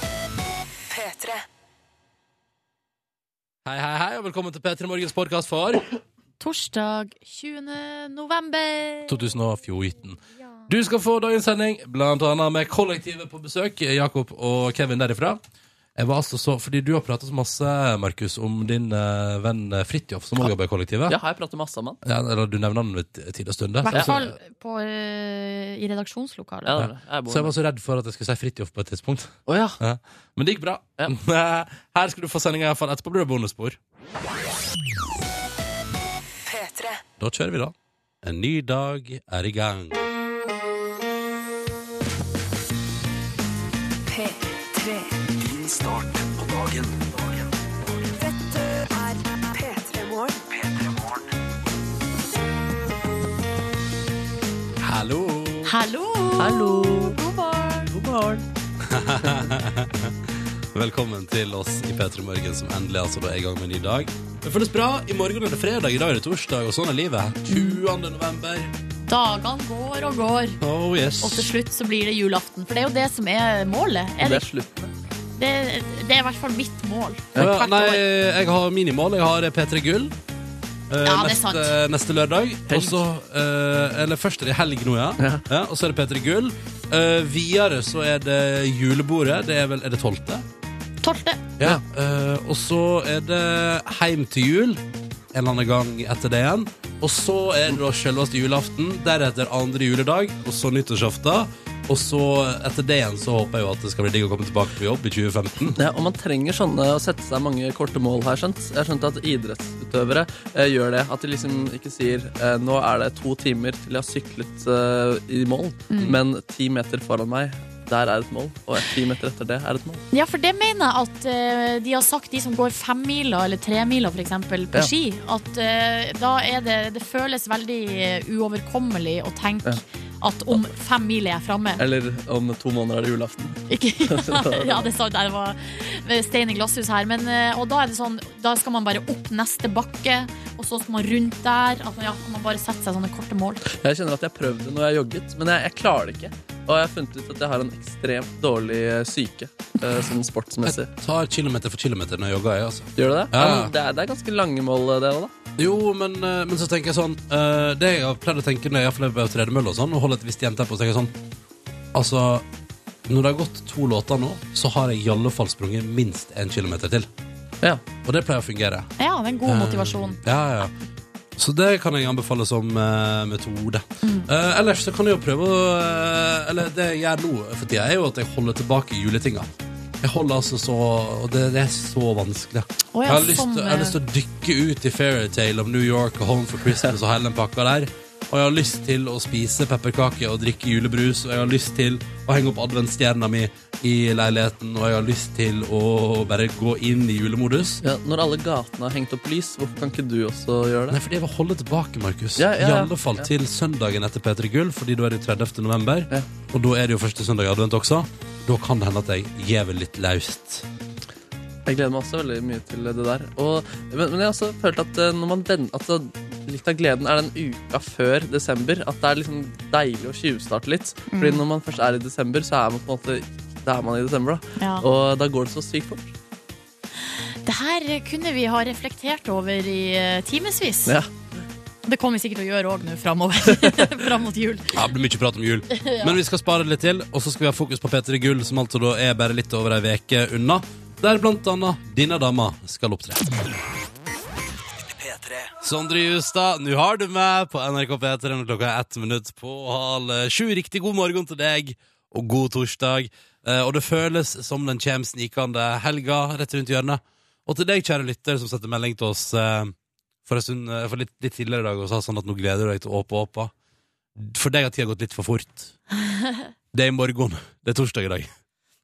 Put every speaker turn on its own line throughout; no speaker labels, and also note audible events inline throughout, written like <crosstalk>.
P3.
Hei, hei, hei, og velkommen til P3 Morgens podkast for
Torsdag 20. november.
2014. Du skal få dagens sending, blant annet med kollektivet på besøk, Jakob og Kevin derifra. Jeg var altså så, fordi Du har pratet så masse Markus, om din eh, venn Fridtjof, som også jobber i kollektivet.
Ja, har jeg pratet masse om han?
Ja, eller Du nevner han ved tid og stund. der.
I hvert
Så-
fall på, eh, i redaksjonslokalet.
Ja, det er det. Jeg
Så
bor
jeg var så redd for at jeg skulle si Fridtjof på et tidspunkt.
Å ja.
Ja. Men det gikk bra. <laughs> Her skal du få sendinga iallfall. Etterpå blir det bonusspor.
P3.
Da kjører vi, da. En ny dag er i gang.
P3.
Din start på dagen.
Dette er P3 Morgen.
Hallo!
Hallo!
Hallo.
God morgen!
God morgen.
Velkommen til oss i P3 Morgen, som endelig altså da er i gang med en ny dag. Det føles bra. I morgen er det fredag, i dag er det torsdag, og sånn er livet. 20. november.
Dagene går og går,
Oh yes.
og til slutt så blir det julaften. For det er jo det som er målet. Er
Det
det,
er slutten.
det, det er i hvert fall mitt mål.
Å ja,
Hvert
nei,
år.
jeg har minimål. Jeg har P3 Gull. eh,
Ja, det er
neste,
sant.
neste lørdag. Og
Helg.
så eh, Eller først er det helg nå, ja. ja.
Ja.
og så er det P3 Gull. Eh, videre så er det julebordet. Det er vel Er det tolvte?
Tolvte.
Ja. Eh, og så er det Heim til jul. En eller annen gang etter det igjen. Og så er det da selveste julaften. Deretter andre juledag, og så nyttårsaften. Og så etter det igjen så håper jeg jo at det skal bli digg å komme tilbake på jobb i 2015.
Ja, og man trenger sånne å sette seg mange korte mål, har jeg skjønt. Jeg har skjønt at idrettsutøvere eh, gjør det. At de liksom ikke sier eh, nå er det to timer til jeg har syklet eh, i mål, men ti meter foran meg, der er et mål. Og et ti meter etter det er et mål.
Ja, for det mener jeg at eh, de har sagt, de som går femmila eller tremila f.eks. på
Ja.
ski, at eh, da er det Det føles veldig eh, uoverkommelig å tenke at om fem mil er jeg framme.
Eller om to måneder er det julaften.
Ikke, <laughs> ja, det sa jeg det var stein i glasshus her. Men, eh, og da er det sånn, da skal man bare opp neste bakke, og så skal man rundt der. At man, ja, man bare setter seg sånne korte mål.
Jeg kjenner at jeg prøvde når jeg jogget, men jeg, jeg klarer det ikke. Og jeg har funnet ut at jeg har en ekstremt dårlig eh, syke eh, sånn sportsmessig.
Jeg tar kilometer for kilometer når jeg jogger, jeg, altså.
Gjør du det?
Ja.
men det, er, det er ganske lange mål, eh, det òg, da.
Jo, men, eh, men så tenker jeg sånn eh, Det jeg har pleid å tenke når jeg har på tredemølle og sånn, og holder et visst jevnt tempo, så tenker jeg sånn Altså, når det har gått to låter nå, så har jeg i alle fall sprunget minst en kilometer til.
Ja.
Og det pleier å fungere.
Ja, det er en god
Eh.
motivasjon.
Ja, ja, ja. Så det kan jeg anbefale som eh, metode.
Mm.
Eh, ellers så kan jeg jo prøve å eh, Eller det jeg gjør nå for tida, er jo at jeg holder tilbake juletinga. Jeg holder altså så Og det, det er så vanskelig.
Å, ja,
jeg, har lyst,
sånn,
til- jeg har
eh.
lyst til å dykke ut i fairytale om New York og Home for Christmas og hele den pakka der. Og jeg har lyst til å spise pepperkaker og drikke julebrus. Og jeg har lyst til å henge opp adventsstjerna mi i leiligheten. Og jeg har lyst til å bare gå inn i julemodus.
Ja, når alle gatene har hengt opp lys, hvorfor kan ikke du også gjøre
Nei,
det?
fordi jeg vil holde tilbake, Markus.
Ja, ja, ja.
I alle fall
Ja.
til søndagen etter P3 Gull, fordi da er det jo 30. november.
Ja.
Og da er det jo første søndag i advent også. Da kan det hende at jeg gjever litt løst.
Jeg gleder meg også veldig mye til det der. Og, men, men jeg har også følt at eh, når man venner altså, Litt av gleden er den uka før desember. At det er liksom deilig å tjuvstarte litt. Fordi når man først er i desember, så er man på en måte Da er man i desember, da.
Ja.
Og da går det så sykt fort.
Det her kunne vi ha reflektert over i eh, timevis.
Ja.
Det kommer vi sikkert til å gjøre òg nå framover. <laughs> Fram mot jul.
Ja, det blir mye prat om jul. Men vi skal spare det litt til, og så skal vi ha fokus på P3 Gull, som altså da er bare litt over ei veke unna. Der blant annet denne dama skal opptre.
P3.
Sondre Justad, nå har du meg på NRK P3 når klokka er ett minutt på halv eh, sju. Riktig god morgen til deg, og god torsdag. Eh, og det føles som den kommer snikende helga rett rundt hjørnet. Og til deg, kjære lytter, som sendte melding til oss eh, for, en stund, eh, for litt, litt tidligere i dag og sa sånn at nå gleder du deg til Åpa Åpa. For deg har tida gått litt for fort. Det er i morgen. Det er torsdag i dag.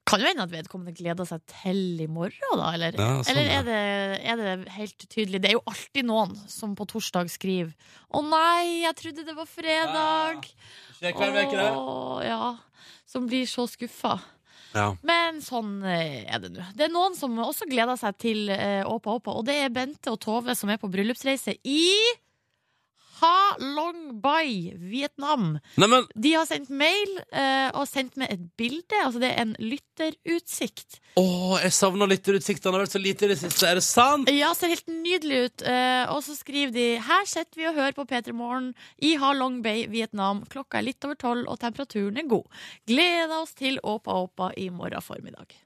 Kan jo hende at vedkommende gleder seg til i morgen, da? Eller,
Ja, sånn,
eller
ja.
er, det, er det helt tydelig? Det er jo alltid noen som på torsdag skriver 'Å nei, jeg trodde det var fredag'. Åh, ja. Som blir så skuffa.
Ja.
Men sånn eh, er det nå. Det er noen som også gleder seg til eh, Åpa Åpa, og det er Bente og Tove som er på bryllupsreise i Ha Long Bai, Vietnam.
Neimen,
De har sendt mail eh, og sendt meg et bilde. Altså det er en lytterutsikt.
å, jeg savner lytterutsiktene. Det har vært så lite i det siste. Er det sant?
Ja, ser helt nydelig ut. Eh, og så skriver de Her sitter vi og hører på P3 Morgen i Ha Long Bay, Vietnam. Klokka er litt over tolv, og temperaturen er god. Gleder oss til Åpa Åpa i morgen formiddag.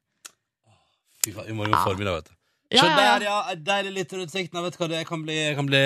Fy faen, i morgen
Ja.
formiddag, vet du.
Ja,
Så
ja,
der,
ja.
ja. en Deilig lytterutsikt. Nei, vet du hva, det kan bli, jeg kan bli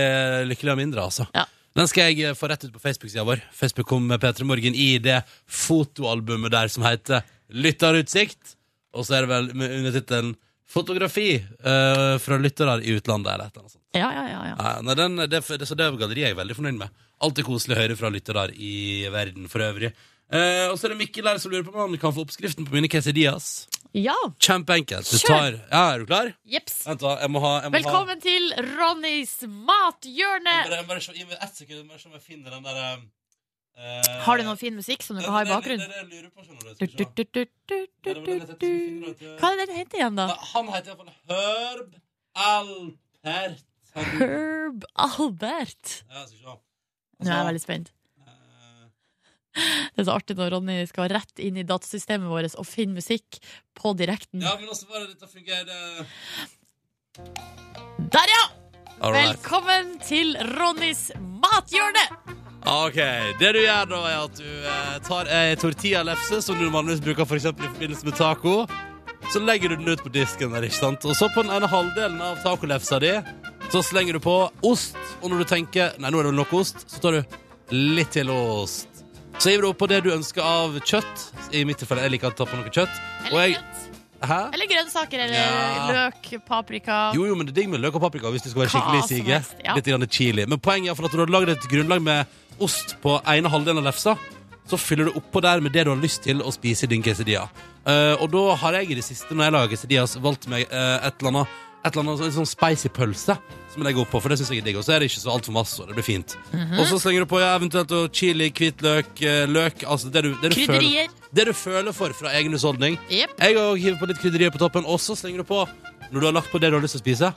lykkelig av mindre, altså.
Ja.
Den skal jeg eh, få rett ut på Facebook-sida vår. Facebook kom med Petra Morgen i det fotoalbumet der som heter Lytterutsikt. Og så er det vel med undertittelen Fotografi eh, fra lyttere i utlandet, eller et eller annet sånt.
ja, ja, ja, ja.
Ja, nei, den, det, det, så det galleriet er jeg veldig fornøyd med. Alltid koselig å høre fra lyttere i verden for øvrig. Eh, og så er det Mikkel her som lurer på om han kan få oppskriften på mine quesadillas.
ja.
Kjempeenkelt. Du
Kjør!
tar, ja, er du klar?
Jeps.
Vent, da. Jeg må ha jeg må ha-
Velkommen til Ronnys
Jeg
mathjørne.
Bare, jeg bare, se- gi meg ett sekund, jeg bare se om jeg finner den der eh,
Har du noe fin musikk som du kan ha i
Det
bakgrunnen?
er det jeg lurer på, skjønner du.
Du,
Skal vi
du,
se.
du, du, du,
Ja,
du,
det var
du,
den jeg tenkte jeg skulle
du.
finne ut, ja.
Hva er det den heter igjen, da?
Nei, Han heter iallfall Herb Alpert. Han-
Herb Albert.
Ja, skal vi se.
Nå er jeg veldig spent.
Altså, Eh,
Det er så artig når Ronny skal rett inn i datasystemet vårt og finne musikk på direkten.
Ja, men også bare dette fungerer eh.
Der, ja! Velkommen til Ronnys mathjørne!
Ok, det du gjør da er at du eh, tar ei tortilla-lefse som du vanligvis bruker for eksempel i forbindelse med taco. Så legger du den ut på disken der, ikke sant? Og så på den ene halvdelen av tacolefsa di, så slenger du på ost. Og når du tenker, nei nå er det vel nok ost, så tar du litt til ost. Så gir du opp på det du ønsker av kjøtt. I mitt tilfelle, jeg liker å ta på noe kjøtt. Og
Eller,
jeg,
grønt.
hæ?
eller grønnsaker eller
Ja.
løk, paprika.
Jo, jo, men det er digg med løk og paprika hvis du skal være
Hva
skikkelig
som
sige.
helst, ja.
Litt grann chili. Men poenget er for at når du har lagd et grunnlag med ost på ene halvdelen av lefsa, så fyller du oppå der med det du har lyst til å spise i din quesadilla. Eh, og da har jeg i det siste, når jeg lager quesadillas, valgt meg eh, et eller annet et eller annet sånn- sånn spicy pølse som jeg legger oppå, for det syns jeg er digg. Og så er det ikke så altfor masse, og det blir fint.
Mhm.
Og så slenger du på ja, eventuelt og chili, hvitløk, eh, løk, altså det du, det du føler
Krydderier.
det du føler for fra egen husholdning.
Jep.
Jeg òg hiver på litt krydderier på toppen, og så slenger du på, når du har lagt på det du har lyst til å spise,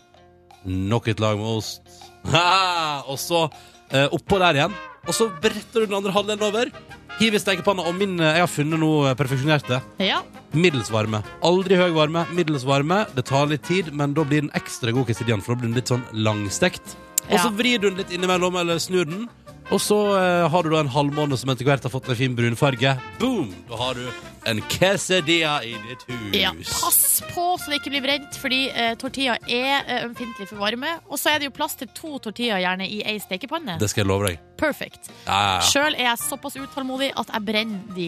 nok et lag med ost. <laughs> Ha! Og så eh, oppå der igjen. Og så bretter du den andre halvdelen over. Hiver i stekepanna, og min eh, Jeg har funnet noe perfeksjonert det.
Ja.
Middels varme. Aldri høy varme, middels varme. Det tar litt tid, men da blir den ekstra god quesadillan, for da blir den litt sånn langstekt. Og så
Ja.
vrir du den litt innimellom, eller snur den. Og så eh, har du da en halvmåne som etter hvert har fått en fin brunfarge. Boom! Da har du en quesadilla i ditt hus.
ja. Pass på så det ikke blir brent, fordi eh, tortilla er eh, ømfintlig for varme. Og så er det jo plass til to tortilla gjerne i ei stekepanne.
Det skal jeg love deg. Ja,
Perfect.
ja, ja.
Sjøl er jeg såpass utålmodig at jeg brenner de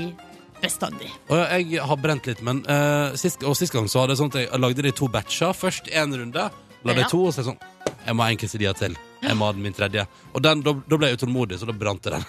bestandig.
Og jeg har brent litt, men eh, sist, og sist gang så hadde jeg sånn at jeg lagde det i to batcher. Først én runde, la det i
Ja.
to, og så er jeg sånn Jeg må ha en quesadilla til. Jeg må ha den min tredje. Og den, da, da ble jeg utålmodig, så da brant jeg den.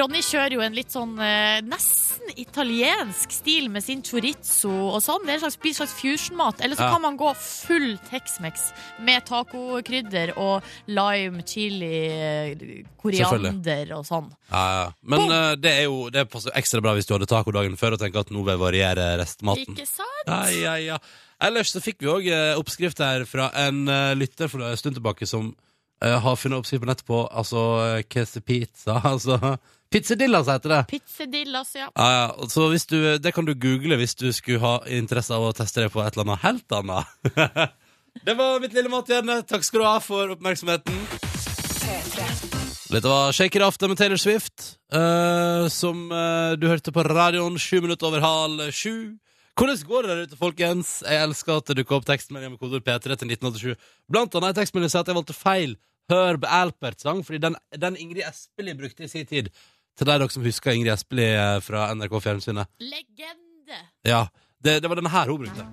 Ronny kjører jo en litt sånn eh, nesten italiensk stil med sin chorizo og sånn. Det er en slags, blir en slags fusion-mat. Eller så
Ja.
kan man gå full Tex-Mex med tacokrydder og lime, chili, eh, koriander og sånn.
Ja, ja. Men
Boom!
eh, det er jo det passer ekstra bra hvis du hadde taco dagen før og tenker at nå vil jeg variere restmaten.
Ikke sant?
Ja, ja, ja. Ellers så fikk vi òg oppskrift her fra en eh, lytter for en stund tilbake som eh, har funnet oppskrift på nettet på altså eh, quesepizza. <laughs> Altså pizzadillas heter det.
Pizzadillas, ja.
Ja, ja. og Så hvis du, eh, det kan du google hvis du skulle ha interesse av å teste det på et eller annet <laughs> helt annet. det var mitt lille mathjørne. Takk skal du ha for oppmerksomheten. Dette var Shake It Off med Taylor Swift, eh, som eh, du hørte på radioen sju minutter over halv sju. Hvordan går det der ute, folkens? Jeg elsker at det dukker opp tekstmelding med kodeord P3 til 1987. Blant annet en tekstmelding som sier at jeg valgte feil Herb Alpert-sang, fordi den, den Ingrid Espelid brukte i sin tid. Til deg dere som husker Ingrid Espelid eh, fra NRK Fjernsynet.
Legende.
Ja, det, det var denne her hun brukte.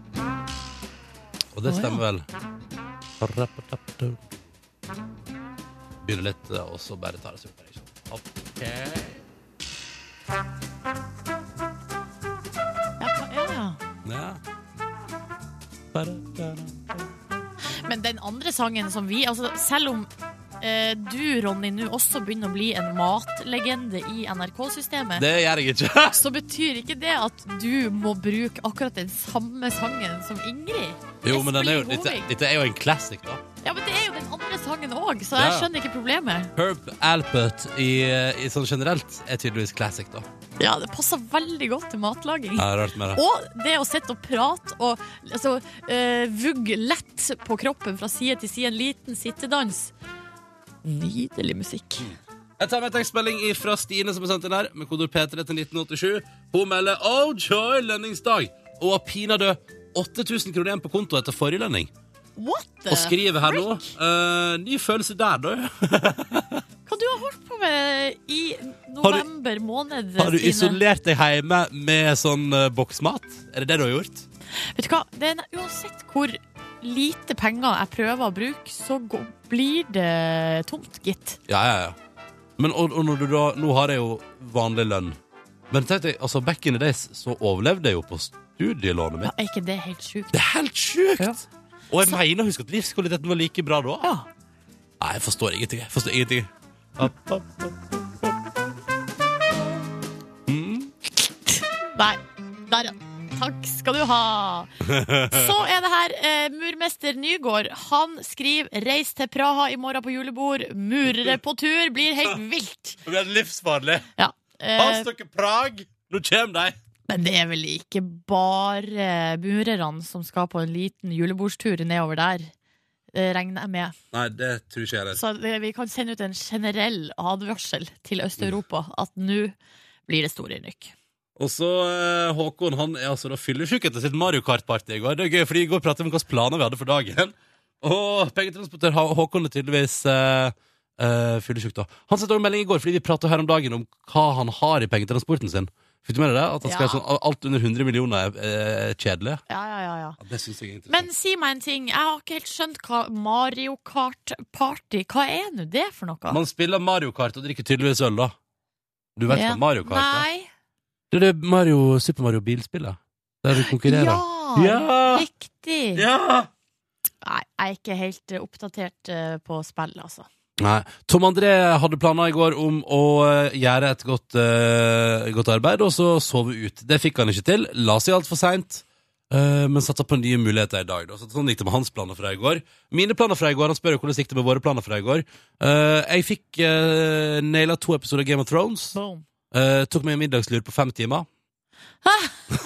Og det stemmer vel. Begynner litt, eh, og så bare tar det seg opp. her, ikke sant? Ok.
Ja, hva- ja, ja.
Ja.
Men den andre sangen som vi altså Selv om eh, du, Ronny, nå også begynner å bli en matlegende i NRK-systemet
Det gjør jeg ikke. <laughs>
så betyr ikke det at du må bruke akkurat den samme sangen som Ingrid.
jo, men den er jo,
Espelid
dette,
Hovig.
dette er jo en classic, da.
Ja, men det er jo den andre sangen òg, så
Ja,
jeg
ja.
skjønner ikke problemet.
Herb Alpert i, i sånn generelt er tydeligvis classic, da.
Ja, det passer veldig godt til matlaging.
Jeg har hørt med det.
Og det å sitte og prate og altså, eh, vugge lett på kroppen fra side til side, en liten sittedans. Nydelig musikk.
Jeg tar med en tekstmelding fra Stine som er sendt inn her, med kodord P3 til 1987. Hun melder Oh joy, lønningsdag! Og har pinadø 8000 kroner igjen på konto etter forrige lønning.
What the
Og skriver her nå eh, Ny følelse der, da.
Hva du har holdt på med i november måned,
Har du
Stine?
isolert deg hjemme med sånn eh, boksmat? Er det det du har gjort?
Vet du hva, det er, ne- uansett hvor lite penger jeg prøver å bruke, så gå- blir det tomt, gitt.
Ja, ja, ja. Men og, og når du da, nå har jeg jo vanlig lønn. Men tenk deg, altså back in the days så overlevde jeg jo på studielånet
Ja,
mitt.
er ikke det helt sjukt?
Det er helt sjukt! Og jeg mener, husk at livskvaliteten var like bra da.
Ja.
Nei, jeg forstår ingenting. Jeg forstår ingenting.
Nei. Der, ja. Takk skal du ha. Så er det her eh, murmester Nygård. Han skriver 'Reis til Praha i morgen på julebord'. Murere på tur blir helt vilt.
Det blir livsfarlig.
Ja. Eh,
dere Prag, nå kommer de!
men det er vel ikke bare murerne som skal på en liten julebordstur nedover der, eh, regner jeg med.
Nei, det tror ikke jeg heller.
Så det, vi kan sende ut en generell advarsel til Øst-Europa at nå blir det store rykk.
Og så eh, Håkon han er altså da fyllesyk etter sitt Mario Kart-party i går. Det er gøy, fordi i går pratet vi om hvilke planer vi hadde for dagen. Og pengetransportør Hå- Håkon er tydeligvis eh, eh, fyllesyk, da. Han sendte også en melding i går fordi vi prata her om dagen om hva han har i pengetransporten sin. Fikk du med deg det? At han skal
Ja.
sånn, alt under 100 millioner er eh, kjedelig?
Ja, ja, ja, ja.
Ja, det syns jeg er interessant.
Men si meg en ting, jeg har ikke helt skjønt hva Mario Kart Party Hva er nå det for noe?
Man spiller Mario Kart og drikker tydeligvis øl, da. Du vet
Ja.
hva Mario Kart er?
Nei.
Det er det Mario, Super Mario Bilspillet. Der du konkurrerer.
Ja,
Ja.
riktig.
ja!
Nei, jeg er ikke helt eh, oppdatert eh, på spill, altså.
Nei. Tom André hadde planer i går om å eh, gjøre et godt, eh, godt arbeid, og så sove ut. Det fikk han ikke til. La seg altfor seint. Uh, men satsa på nye muligheter i dag. Da. Så sånn gikk det med hans planer fra i går. Mine planer fra i går, Han spør jo hvordan det gikk det med våre planer fra i går. Eh, jeg fikk uh, naila to episoder av Game of Thrones.
Boom.
Eh, tok meg en middagslur på fem timer.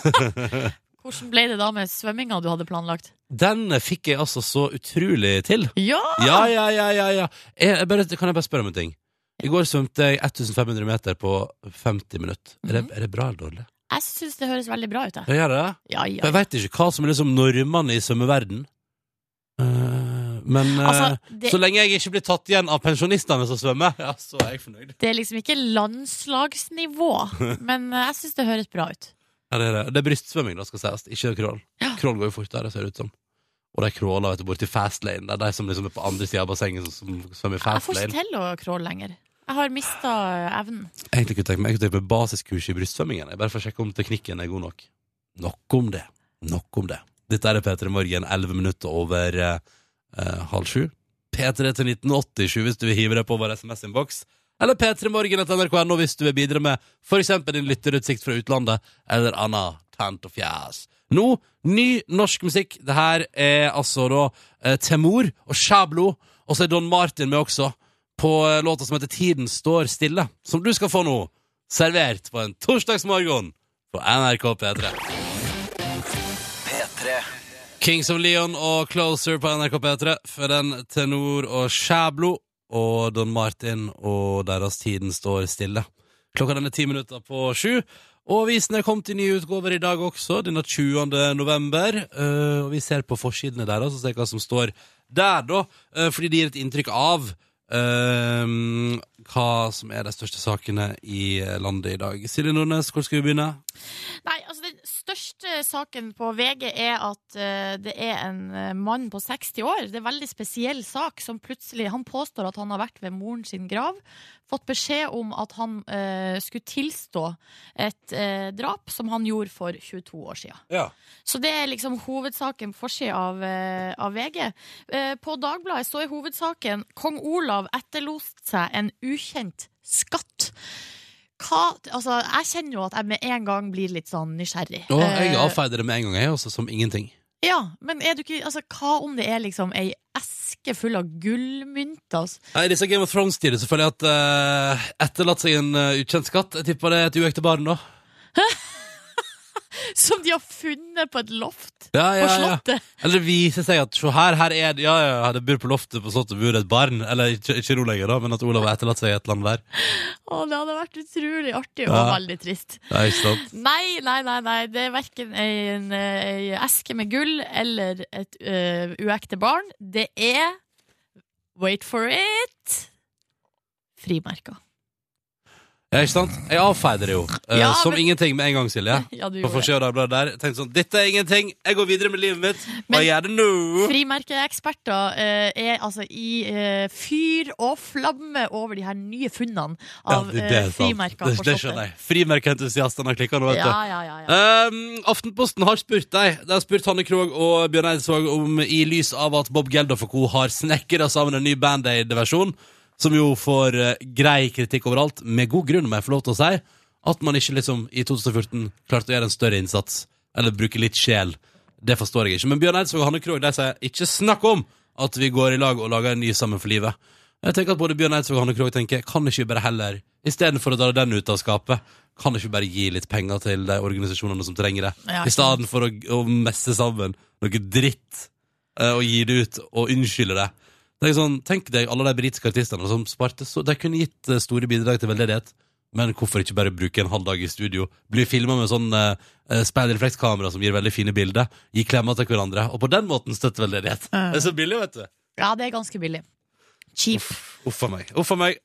Hvordan ble det da med svømminga du hadde planlagt?
Den fikk jeg altså så utrolig til.
Ja!
Ja, ja, ja, ja, ja. Jeg, jeg bare, Kan jeg bare spørre om en ting? I går svømte jeg 1500 meter på 50 minutter. Er,
Mhm.
det, er det bra eller dårlig?
Jeg syns det høres veldig bra ut, jeg.
Jeg gjør det.
Ja, ja,
For jeg veit ikke hva som er liksom normene i svømmeverden. Eh, men eh,
Altså, det-
så lenge jeg ikke blir tatt igjen av pensjonistene som svømmer, <laughs> ja, så er jeg fornøyd.
Det er liksom ikke landslagsnivå,
<laughs>
men eh, jeg syns det høres bra ut.
Ja, det, er det. det er brystsvømming, da, skal sies. Ikke crawl. Crawl går jo fortere, ser det ut som. Og de crawler vet du, bort til fast lane. Det er de som liksom er på andre sida av bassenget, som, som svømmer i
Jeg
fast
får
lane.
ikke til å crawl lenger. Jeg har mista evnen.
Egentlig kunne jeg tenkt meg, jeg kunne tenkt meg basiskurs i brystsvømmingen. Jeg bare får sjekke om teknikken er god nok. Nok om det. Nok om det. Dette er P3 Morgen, 11 minutter over eh, eh, halv sju. P3 til 1987 hvis du vil hive deg på vår SMS-innboks. Eller P3 Morgen etter nrk.no hvis du vil bidra med f.eks. din lytterutsikt fra utlandet eller anna tant og fjas. Nå, ny norsk musikk. Det her er altså da eh, Temor og Shablo. Og så er Don Martin med også på eh, låta som heter Tiden står stille, som du skal få nå, servert på en torsdagsmorgen på NRK P3.
P3.
Kings of Leon og Closer på NRK P3, for den tenor og Skjæblo og Don Martin og deres Tiden står stille. Klokka den er ti minutter på sju. Og avisene kom til nye utgaver i dag også, denne 20. november. Eh, og vi ser på forsidene der, og så ser vi hva som står der, da. Eh, fordi det gir et inntrykk av eh, hva som er de største sakene i landet i dag. Silje Nordnes, hvor skal vi begynne?
Nei, altså Den største saken på VG er at eh, det er en eh, mann på 60 år. Det er en veldig spesiell sak. som plutselig, Han påstår at han har vært ved moren sin grav. Fått beskjed om at han eh, skulle tilstå et eh, drap som han gjorde for 22 år siden.
Ja.
Så det er liksom hovedsaken på forsida av, eh, av VG. Eh, På Dagbladet så er hovedsaken 'Kong Olav etterlot seg en ukjent skatt'. Hva, altså, jeg kjenner jo at jeg med en gang blir litt sånn nysgjerrig.
Og jeg
Eh,
avfeide det med en gang, jeg også, som ingenting.
Ja, men er du ikke Altså, hva om det er liksom ei eske full av gullmynter? Altså?
Nei, I disse Game of Thrones-tider så føler jeg at uh, etterlatt seg en eh, ukjent skatt. Jeg tipper det er et uekte barn, da.
Som de har funnet på et loft
Ja,
på
ja, ja.
Slottet?
Eller det viser seg at se her, her er det Ja, ja, ja, det bor på loftet på Slottet, bor det et barn. Eller ikke, ikke Olav, da, men at Olav har etterlatt seg et eller annet der.
Å, det hadde vært utrolig artig og
Ja.
veldig trist.
Det er ikke sant.
Nei, nei, nei, nei. det er verken en, eh, eske med gull eller et eh, uekte barn. Det er Wait for it! Frimerker.
Ja, ikke sant? Jeg avfeide det jo eh,
Ja,
som
men-
ingenting med en gang, Silje.
<laughs> Ja, du
På
gjorde det.
forsida av Dagbladet der. Tenkte sånn Dette er ingenting, jeg går videre med livet mitt. Hva
Men-
gjør det nå?
Frimerkeeksperter eh, er altså i eh, fyr og flamme over de her nye funnene av
det,
eh,
er sant.
frimerker.
Det, det skjønner jeg. Frimerkeentusiastene har klikka nå, vet du.
Ja, ja, ja, ja.
Um, Aftenposten har spurt deg De har spurt Hanne Krogh og Bjørn Eidsvåg om I lys av at Bob Geldof og co. har snekra sammen en ny Band Aid-versjon, som jo får eh, grei kritikk overalt, med god grunn, må jeg få lov til å si, at man ikke liksom i 2014 klarte å gjøre en større innsats, eller bruke litt sjel. Det forstår jeg ikke. Men Bjørn Eidsvåg og Hanne Krogh de sier ikke snakk om at vi går i lag og lager en ny Sammen for livet. Jeg tenker at både Bjørn Eidsvåg og Hanne Krogh tenker kan ikke vi bare heller, istedenfor å dra den ut av skapet, kan ikke vi bare gi litt penger til de organisasjonene som trenger det,
Ja,
i stedet for å, å messe sammen noe dritt eh, og gi det ut og unnskylde det. Det er sånn, Tenk deg alle de britiske artistene som sparte så, De kunne gitt eh, store bidrag til veldedighet, men hvorfor ikke bare bruke en halv dag i studio? Bli filma med sånn uh, speilreflekskamera som gir veldig fine bilder, gi klemmer til hverandre, og på den måten støtte veldedighet. Det er så billig, vet du.
Ja, det er ganske billig. Cheap.
Uff a meg. Uff a meg.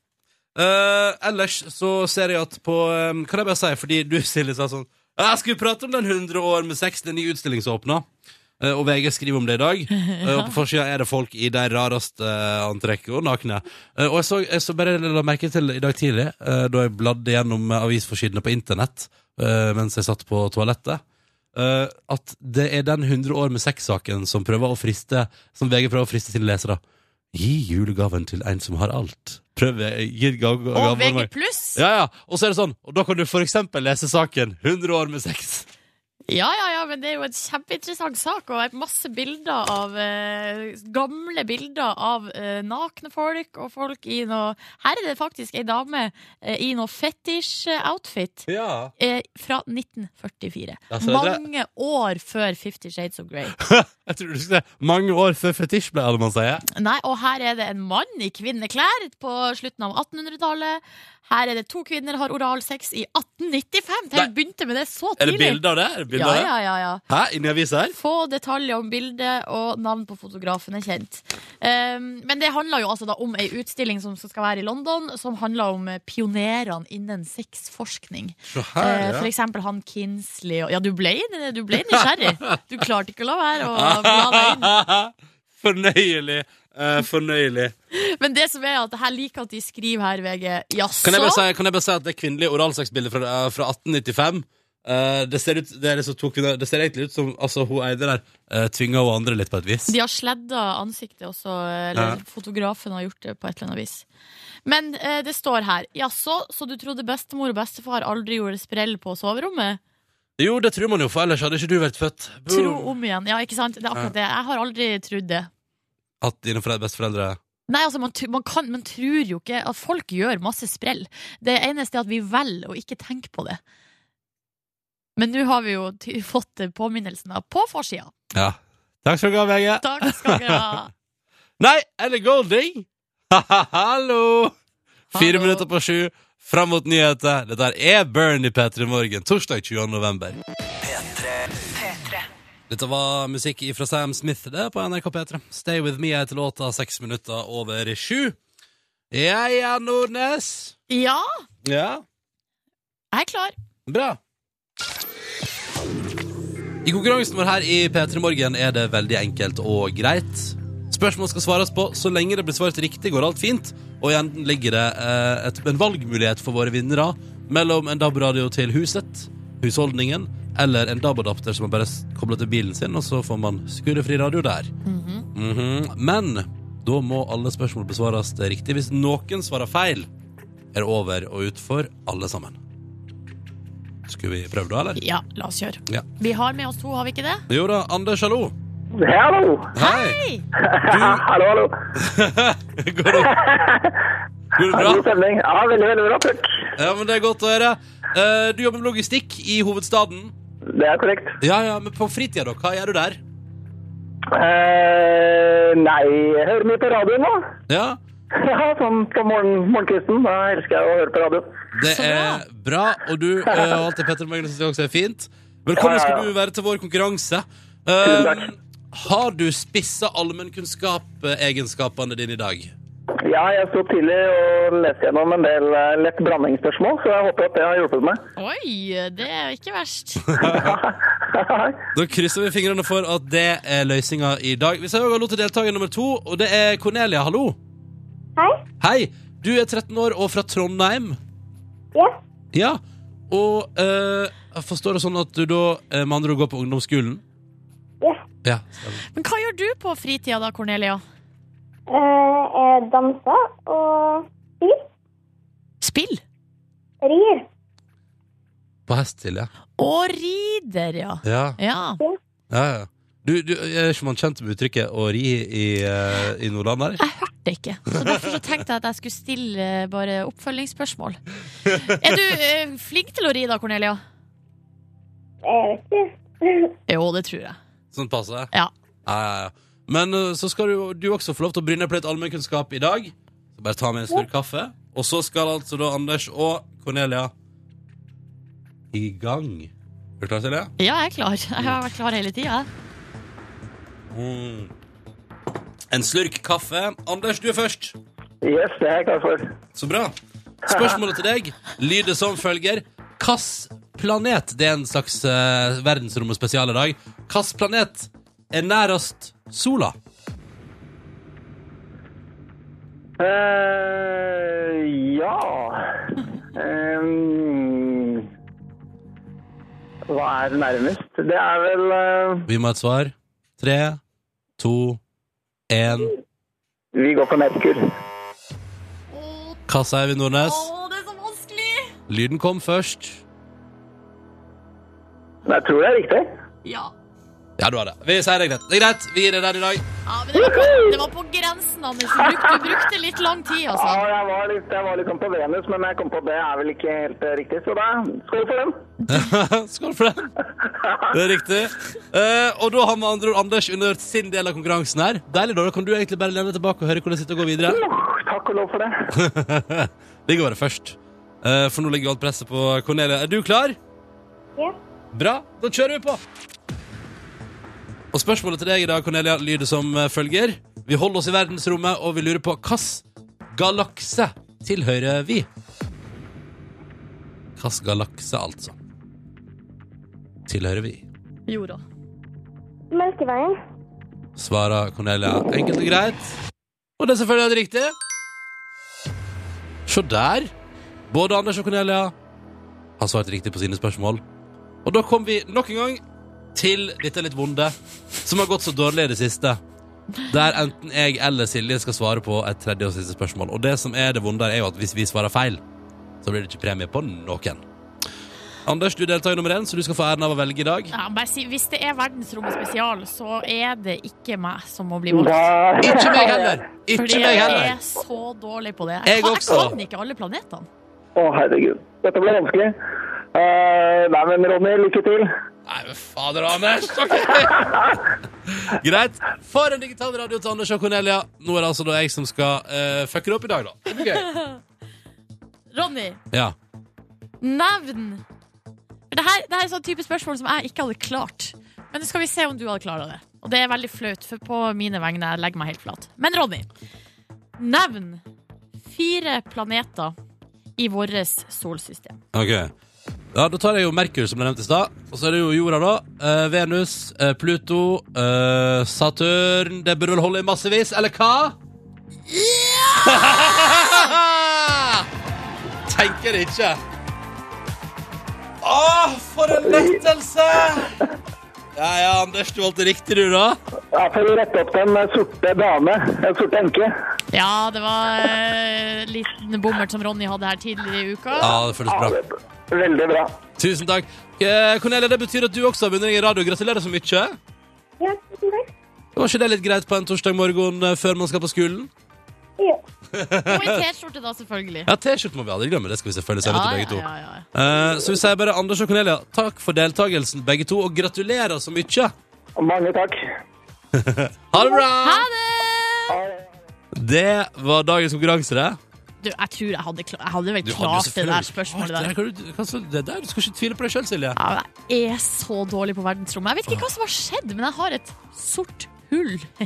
Eh, ellers så ser jeg at på eh, Kan jeg bare si, fordi du Silje sa sånn «Ja, Jeg skulle prate om den 100 år med 60 nye utstilling som åpna. Eh, og VG skriver om det i dag. Eh, og på forsida er det folk i de rareste eh, antrekk og nakne. Eh, og jeg så, jeg så bare la merke til i dag tidlig, eh, da jeg bladde gjennom eh, avisforsidene på internett eh, mens jeg satt på toalettet, eh, at det er den 100 år med sex-saken som, prøver å friste- som VG prøver å friste sine lesere. Gi julegaven til en som har alt. Prøv eh, gi gav, gav,
Og VG pluss!
Ja, ja. Og så er det sånn, og da kan du for eksempel lese saken 100 år med sex.
Ja, ja, ja, men det er jo en kjempeinteressant sak, og et masse bilder av eh, Gamle bilder av eh, nakne folk og folk i noe Her er det faktisk ei dame eh, i noe fetisj-outfit
Ja.
eh, fra
Ja,
1944.
så er det-
Mange år før Fifty Shades of Grey.
<laughs> Jeg tror du skulle si mange år før fetisj ble alle man sier.
Nei, og her er det en mann i kvinneklær på slutten av 1800-tallet. Her er det to kvinner har oralsex i 1895.
Nei.
Tenk, begynte med det så
Er det
tidlig.
bilder av det? Er det bilder av
Ja,
det?
ja, ja, ja.
Hæ? Inni avisa her?
Få detaljer om bildet og navn på fotografen er kjent. Um, men det handler jo altså da om ei utstilling som skal være i London, som handler om eh, pionerene innen sexforskning.
Se
Eh, For eksempel han Kinsley og Ja, du ble, du ble nysgjerrig. Du klarte ikke å la være å bla deg inn.
<laughs> fornøyelig. Eh, fornøyelig.
Men det som er at her liker at de skriver her, VG.
Kan jeg,
Jaså?
bare si, kan jeg bare si at det kvinnelige oralsexbildet fra, eh, fra 1895 eh, det, ser ut, det, er det, som tok, det ser egentlig ut som altså, hun eide der uh, tvinga hun andre litt på et vis.
De har sledda ansiktet også,
Ja.
eller fotografen har gjort det på et eller annet vis. Men eh, det står her Jaså, så du trodde bestemor og bestefar aldri gjorde sprell på soverommet?
Jo, det tror man jo, for ellers hadde ikke du vært født.
Tro
Uh.
om igjen. Ja, ikke sant? Det er akkurat det. Jeg har aldri trodd det.
At dine foreldre- besteforeldre
Nei, altså, man, tr- man, kan, man tror jo ikke at folk gjør masse sprell. Det eneste er at vi velger å ikke tenke på det. Men nå har vi jo ty fått eh, påminnelsen da, på forsida.
Ja. Takk skal du ha, VG.
Takk skal dere
<laughs>
ha.
Nei, er det <laughs> Golding? Hallo! Fire
Hallo.
minutter på sju, fram mot nyheter. Dette er Bernie Petter i morgen, torsdag 20. november. Dette var musikk fra Sam Smith det på NRK P3. Stay With Me er til låta seks minutter over sju. Ja, ja, Nordnes.
Ja,
Ja,
jeg er klar.
Bra. I konkurransen vår her i P3 Morgen er det veldig enkelt og greit. Spørsmål skal svares på. Så lenge det blir svart riktig, går alt fint. Og i enden ligger det eh, et, en valgmulighet for våre vinnere mellom en DAB-radio til huset, husholdningen, eller en DAB-adapter som man bare s- kobler til bilen sin, og så får man skurefri radio der. Mhm. Men da må alle spørsmål besvares riktig. Hvis noen svarer feil, er det over og ut for alle sammen. Skulle vi prøve da, eller?
Ja, la oss kjøre.
Ja.
Vi har med oss to, har vi ikke det?
Jo da, Anders, hallo.
Hallo!
Hei!
Hei!
hallo, hallo.
<laughs>
<laughs>
Går det, går det
God
bra?
stemning. Ja, veldig, veldig bra. Takk.
Ja, men det er godt å høre. Eh, Du jobber med logistikk i hovedstaden.
Det er korrekt.
Ja, ja, men på fritida, da? Hva gjør du der?
Eh, nei, jeg hører mye på radioen nå. <laughs>
Ja,
Ja, sånn på morgen, morgenkvisten. Da elsker jeg å høre på radio.
det
Så
er bra. Og du eh, og alt det Petter Magnus sier også er fint. Velkommen
Ja, ja, ja.
skal du være til vår konkurranse.
Tusen
Eh,
takk.
har du spissa allmennkunnskap-egenskapene dine i dag?
Ja, jeg sto tidlig og leste gjennom en del eh, lett blandingsspørsmål, så jeg håper at det har hjulpet meg. <laughs>
Oi, det er ikke verst.
Da krysser vi fingrene for at det er løsninga i dag. Vi sier også hallo til deltaker nummer to, og det er Cornelia. Hallo.
Hei.
Hei. Du er 13 år og fra Trondheim.
Ja.
Ja. Og eh, jeg forstår det sånn at du da eh, med andre ord går på ungdomsskolen?
Ja.
Ja, stemmer.
Men hva gjør du på fritida da, Cornelia?
Eh, jeg danser og spyr.
Spill?
Rir.
På hest til, ja.
Og rider, ja.
Ja,
Ja.
ja, ja. Du, du, er ikke man kjent med uttrykket 'å ri' i, eh, i Nordland, der?
Jeg hørte det ikke, så derfor så tenkte jeg at jeg skulle stille eh, bare oppfølgingsspørsmål. Er du eh, flink til å ri da, Cornelia?
Jeg vet ikke. <laughs>
Jo, det tror jeg.
Sånn passe?
Ja.
Ja, ja, ja. Men eh, så skal du, du også få lov til å bryne på litt allmennkunnskap i dag. Så bare ta med en slurk kaffe. Og så skal altså da Anders og Cornelia i gang. Er du klar til det?
Ja, jeg er klar. Jeg har vært klar hele tida.
Mm. En slurk kaffe. Anders, du er først.
Yes, det er jeg klar for.
Så bra. Spørsmålet til deg lyder som følger. Hvilken planet Det er en slags uh, verdensrommet spesial i dag. Hvilken planet er nærest sola?
Eh, ja Em, Hva er nærmest? Det er vel eh,
Vi må ha et svar. Tre, to, én.
Vi går på Merkur.
Hva sier vi, Nordnes?
det er så vanskelig!
Lyden kom først.
Nei, Jeg tror det er riktig.
Ja.
Ja, du har det. Vi sier det greit. Det er greit. Vi gir det den i dag. <laughs>
ja men det var, på, det var på grensen, Anders. Du brukte, du brukte litt lang tid,
Ja,
altså.
jeg var litt, jeg var litt sånn på Venus, men jeg kom på det er vel ikke helt eh, riktig, så da skål for den.
Skål for det. Det er riktig. Eh, og da har med andre ord Anders under sin del av konkurransen her. Deilig, da. Da kan du egentlig bare lene deg tilbake og høre hvordan det sitter og gå videre.
Åh, Takk og lov for <laughs> det.
<laughs> Ligger bare først. Eh, for nå ligger alt presset på Cornelia. Er du klar?
Ja.
Bra, da kjører vi på. Og spørsmålet til deg i dag, Cornelia, lyder som eh, følger. Vi holder oss i verdensrommet, og vi lurer på hvilken galakse tilhører vi? Hvilken galakse, altså, tilhører vi?
Jorda.
Melkeveien.
Svarer Cornelia enkelt og greit. Og det er selvfølgelig helt riktig. Se der. Både Anders og Cornelia har svart riktig på sine spørsmål. Og da kom vi nok en gang til dette litt vonde, som har gått så dårlig i det siste. Der enten jeg eller Silje skal svare på et tredje og siste spørsmål. Og det som er det vonde, her er jo at hvis vi svarer feil, så blir det ikke premie på noen. Anders, du er deltaker nummer én, så du skal få æren av å velge i dag.
Ja, bare si, hvis det er verdensrommet spesial, så er det ikke meg som må bli
Da,
valgt.
Ikke meg heller!
Fordi
Ikke meg
jeg
heller!
er så dårlig på det.
Jeg
Jeg, kan-
også.
jeg kan ikke alle planetene.
å, herregud. Dette ble vanskelig. Eh, nei, men Ronny, lykke til.
Nei, men fader, Anders! Ok! <laughs> Greit. For en digital radio til Anders og Cornelia. Nå er det altså da jeg som skal eh, fucke det opp i dag, da. Det blir gøy.
Ronny,
Ja.
nevn det her, det her er sånn type spørsmål som jeg ikke hadde klart. Men nå skal vi se om du hadde klart det. Og det er veldig flaut, for på mine vegne jeg legger meg helt flat. Men Ronny, nevn fire planeter i vårt solsystem.
Ok. Ja, Da tar jeg jo Merkur, som ble nevnt i stad. Og så er det jo jorda, da. Eh, Venus, eh, Pluto, eh, Saturn Det burde vel holde i massevis, eller hva? Ja! <laughs> Tenker det ikke. Å, for en lettelse! Ja ja, Anders, du valgte riktig, du, da.
Ja, for å rette opp den eh, sorte dame, den sorte enke.
Ja, det var eh, liten bommert som Ronny hadde her tidligere i uka.
Ja, det føles
Ja,
bra.
det- Veldig bra.
Tusen takk. Eh, Cornelia, det betyr at du også har vunnet deg en radio. Gratulerer så mye.
Ja, tusen takk.
Var ikke det litt greit på en torsdag morgen eh, før man skal på skolen?
Jo.
Og i T-skjorte, da, selvfølgelig.
Ja, T-skjorte må vi aldri glemme. Det skal vi selvfølgelig sende til begge to.
ja, ja.
Eh, så vi sier bare Anders og Cornelia, takk for deltakelsen, begge to, og gratulerer så mye.
Mange takk.
Ha det bra!
Ha det!
Det var dagens konkurranse, det.
Du, jeg tror jeg hadde, kla- jeg hadde vel
Du hadde jo
klart det der
selvfølgelig
spørsmålet
klart
der.
Det, der. Hva er det du- hva er det der. Du skal ikke tvile på deg sjøl, Silje.
Ja, jeg er så dårlig på verdensrommet. Jeg vet ikke hva som har skjedd, men jeg har et sort hull. <laughs>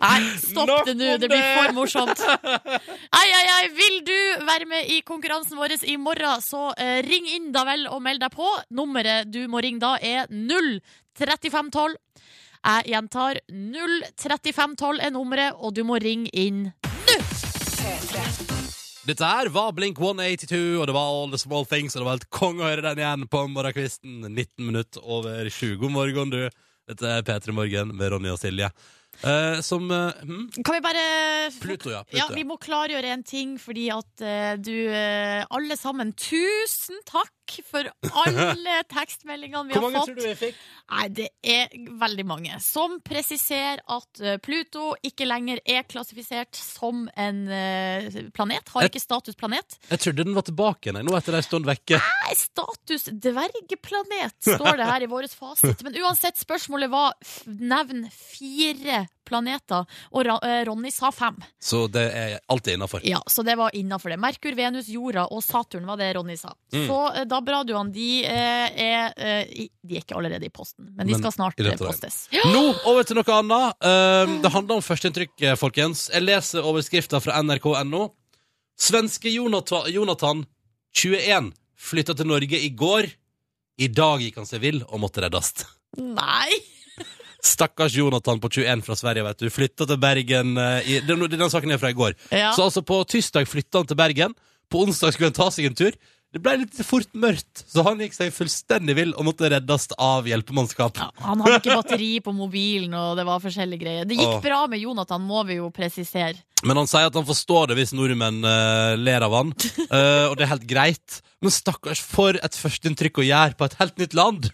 Nei, stopp det nå. Det blir for morsomt. Ei, ei, ei. Vil du være med i konkurransen vår i morgen, så eh, ring inn da vel og meld deg på. Nummeret du må ringe da, er 03512. Jeg gjentar 03512 er nummeret, og du må ringe inn
Dette her var Blink 182, og det var All the Small Things, og det var helt konge å høre den igjen på morgenkvisten. 19 minutter over 20. God morgen, du. Dette er P3 Morgen med Ronny og Silje. Eh, som eh, hm?
Kan vi bare
Pluto, ja. Pluto,
Ja, vi må klargjøre en ting, fordi at eh, du eh, Alle sammen, tusen takk for
<laughs>
alle tekstmeldingene vi
Hvor
har
mange
fått.
tror du vi fikk?
Nei, det er veldig mange. Som presiserer at eh, Pluto ikke lenger er klassifisert som en eh, planet. Har
Et-
ikke status planet.
Jeg trodde den var tilbake igjen, jeg, nå etter ei stund vekke.
Nei, status dvergplanet, står det her i vår fasit. Men uansett, spørsmålet var f- nevn fire planeter, og Ra eh, Ronny sa fem.
Så det er alltid innafor.
Ja, så det var innafor det. Merkur, Venus, jorda og Saturn var det Ronny sa.
Mm.
Så eh, da Braduan, de eh, er eh, i- De er ikke allerede i posten, men de
Men
skal snart
i
eh,
løpet av
postes. Ja.
Nå over til noe annet. Eh, det handler om førsteinntrykk, eh, folkens. Jeg leser overskrifta fra nrk.no. Svenske Jonathan, Jonathan 21 flytta til Norge i går. I dag gikk han seg vill og måtte reddes. <laughs>
Nei!
Stakkars Jonathan på 21 fra Sverige, vet du. Flytta til Bergen eh, i, den, den saken er fra i går.
Ja.
Så altså på tirsdag flytta han til Bergen. På onsdag skulle han ta seg en tur. Det ble litt fort mørkt, så han gikk seg fullstendig vill og måtte reddes av hjelpemannskap.
Ja, han hadde ikke batteri på mobilen, og det var forskjellige greier. Det gikk
Åh.
bra med Jonathan, må vi jo presisere.
Men han sier at han forstår det hvis nordmenn eh, ler av han. Eh, og det er helt greit. Men stakkars, for et førsteinntrykk å gjøre på et helt nytt land!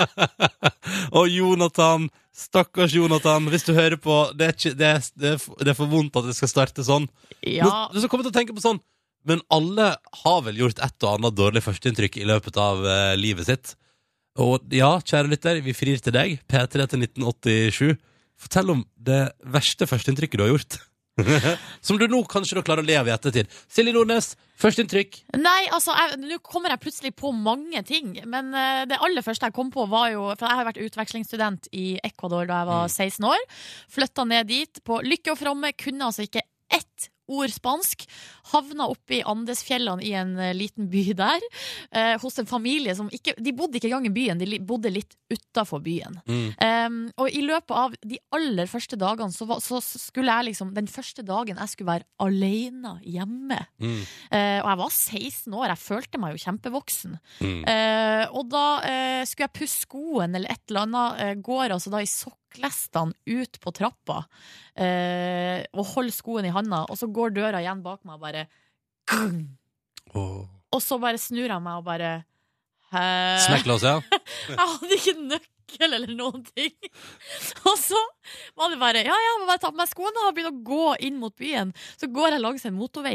og Jonathan, stakkars Jonathan, hvis du hører på, det er, ikke, det, er, det er f- det er for vondt at det skal starte sånn.
Ja,
Men, du skal komme til å tenke på sånn Men alle har vel gjort et og annet dårlig førsteinntrykk i løpet av eh, livet sitt. Og ja, kjære lytter, vi frir til deg. P3 til 1987. Fortell om det verste førsteinntrykket du har <laughs> gjort. Som du nå kanskje da klarer å leve i ettertid. Silje Nordnes, førsteinntrykk.
Nei, altså, jeg- nå kommer jeg plutselig på mange ting. Men eh, det aller første jeg kom på, var jo For jeg har vært utvekslingsstudent i Ecuador da jeg var 16 år. Flytta ned dit på lykke og fromme. Kunne altså ikke ett ord spansk. Havna oppe i Andesfjellene i en eh, liten by der. eh, hos en familie som ikke De bodde ikke engang i byen, de li- bodde litt utafor byen. Um, og i løpet av de aller første dagene så, var, så skulle jeg liksom Den første dagen jeg skulle være alene hjemme.
Mm.
Eh, og jeg var 16 år, jeg følte meg jo kjempevoksen.
Mm.
Eh, og da eh, skulle jeg pusse skoen eller et eller annet, eh, går altså da i sokklestene ut på trappa eh, og holder skoen i handa, og så går døra igjen bak meg og bare «Gung!»
Åh.
Og så bare snur jeg meg og bare
Eh.
«Hæ?»
Smekklås, <laughs> ja.
<laughs> Jeg hadde ikke nøkkel eller noen ting. <laughs> Og så var det bare Ja, ja, må bare ta på meg skoene da, og begynne å gå inn mot byen. Så går jeg langs en motorvei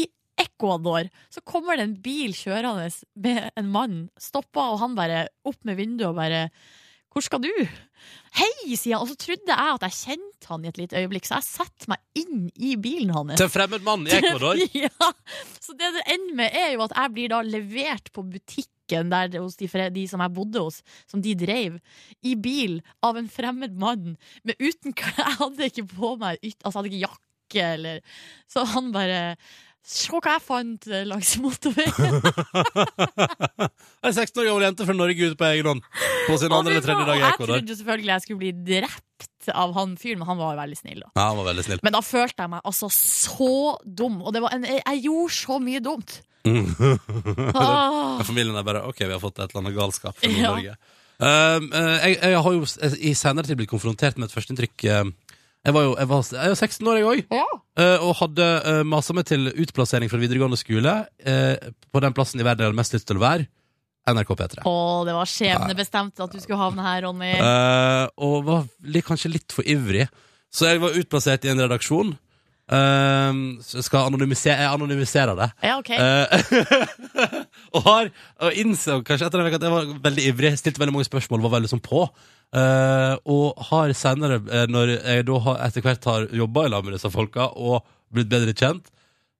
i Ecuador. Så kommer det en bil kjørende med en mann. Stopper, og han bare opp med vinduet og bare hvor skal du? Hei, sier han. Og så trodde jeg at jeg kjente han i et lite øyeblikk, så jeg setter meg inn i bilen hans.
Til en fremmed mann i
<laughs>
<laughs> Ecuador.
Ja, så det det ender med er jo at jeg blir da levert på butikken der det- hos de, fre- de som jeg bodde hos, som de dreiv, i bil av en fremmed mann, men uten klær. <laughs> Jeg hadde ikke på meg yt, altså jeg hadde ikke jakke eller Så han bare Se hva jeg fant eh, langs
<laughs>
motorveien.
Ei 16 år gammel jente fra Norge ute på egen hånd. På sin andre eller tredje dag i
jeg
Ecuador.
trodde jo selvfølgelig jeg skulle bli drept av han fyren, men han var jo veldig snill, da.
Ja, han var veldig snill.
Men da følte jeg meg altså så dum, og det var en, jeg, jeg gjorde så mye dumt.
Mm. <laughs> Men
Ah.
familien er bare OK, vi har fått et eller annet galskap fra
Ja.
Norge. Um, eh, jeg, jeg har jo s- eh, i senere tid blitt konfrontert med et førsteinntrykk. eh, Jeg var jo jeg var, jeg er jo 16 år, jeg òg,
Ja.
og hadde uh, eh, masa meg til utplassering fra videregående skole eh, på den plassen i verden jeg hadde mest lyst til å være. NRK P3.
Å, det var skjebnebestemt at du skulle havne her, Ronny.
Eh, og var li kanskje litt for ivrig. Så jeg var utplassert i en redaksjon. Eh, så jeg skal anonymisere Jeg anonymiserer det.
Ja, ok.
Eh, <laughs> og har og innså kanskje etter en uke at jeg var veldig ivrig, stilte veldig mange spørsmål, var veldig sånn på. Eh, og har senere, eh, når jeg da har, etter hvert har jobba i lag med disse folka og blitt bedre kjent,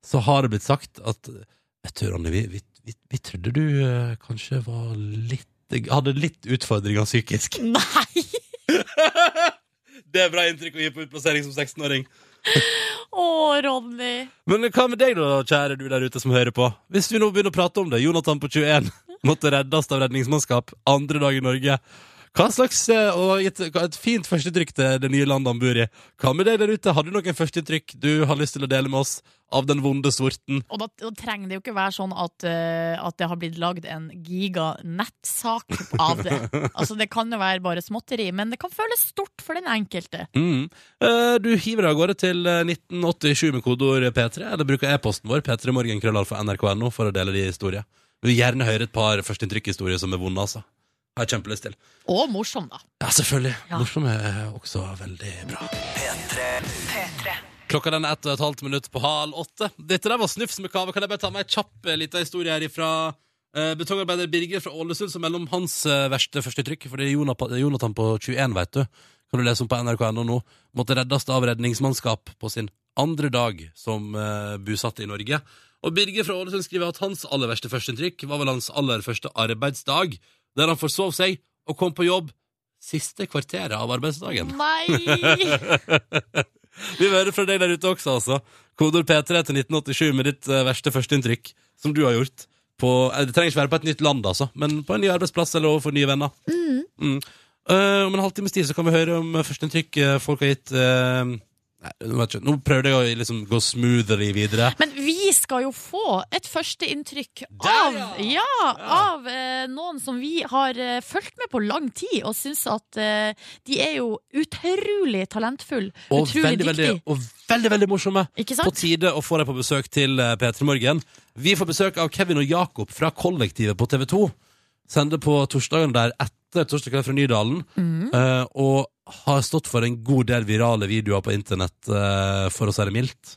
så har det blitt sagt at Vet du, Ronny, vi, vi, vi, vi trodde du eh, kanskje var litt Hadde litt utfordringer psykisk.
Nei!
Det er bra inntrykk å gi på utplassering som 16-åring.
Å, Ronny.
Men hva med deg, da, kjære du der ute som hører på? Hvis vi nå begynner å prate om det, Jonathan på 21 <laughs> måtte reddes av redningsmannskap andre dag i Norge. Hva slags, eh, og et, hva- et fint førsteinntrykk til det nye landet han bor i. Hva med deg der ute? Har du noen førsteinntrykk du har lyst til å dele med oss av den vonde sorten?
Og da, da trenger det jo ikke være sånn at, eh, at det har blitt lagd en giganettsak av det. Altså, det kan jo være bare småtteri, men det kan føles stort for den enkelte.
Mm. Eh, Du hiver deg av gårde til eh, 1987 med kodeord P3, eller bruker e-posten vår p3morgenkrøllalfa.nrk.no for å dele de historier. Vi vil gjerne høre et par førsteinntrykk-historier som er vonde, altså. Har jeg kjempelyst til.
Og morsom, da.
Ja, selvfølgelig.
Ja.
Morsom er også veldig bra. Klokka den er ett og et halvt minutt på halv åtte. Dette der var snufs med kave. Kan jeg bare ta med ei kjapp eh, lita historie her ifra eh, betongarbeider Birger fra Ålesund, som melder om hans eh, verste førsteinntrykk. For det er Jonapa- Jonathan på 21, veit du. Kan du lese om på nrk.no nå. Måtte reddes av redningsmannskap på sin andre dag som eh, bosatt i Norge. Og Birger fra Ålesund skriver at hans aller verste førsteinntrykk var vel hans aller første arbeidsdag, der han forsov seg og kom på jobb siste kvarteret av arbeidsdagen.
Nei!
Vi vil høre fra deg der ute også, altså. Kodord P3 til 1987 med ditt eh, verste førsteinntrykk som du har gjort. På, eh, det trenger ikke være på et nytt land, altså, men på en ny arbeidsplass eller overfor nye venner. Mm. Eh, om en halvtimes tid så kan vi høre om eh, førsteinntrykk eh, folk har gitt eh, Nei, nå vet jeg ikke. Nå prøvde jeg å liksom gå smoothly videre.
Men vi skal jo få et førsteinntrykk
Der,
av,
ja!
ja, av eh, noen som vi har eh, fulgt med på lang tid, og syns at eh, de er jo utrolig talentfulle.
Og
Utrolig
veldig, veldig,
dyktige.
og veldig, veldig morsomme.
Ikke
På
sant?
tide å få deg på besøk til eh, P3 Morgen. Vi får besøk av Kevin og Jakob fra Kollektivet på TV 2. Sender på torsdagen der etter Torsdag kveld fra Nydalen.
Mm.
eh, og har stått for en god del virale videoer på internett, eh, for å si det mildt.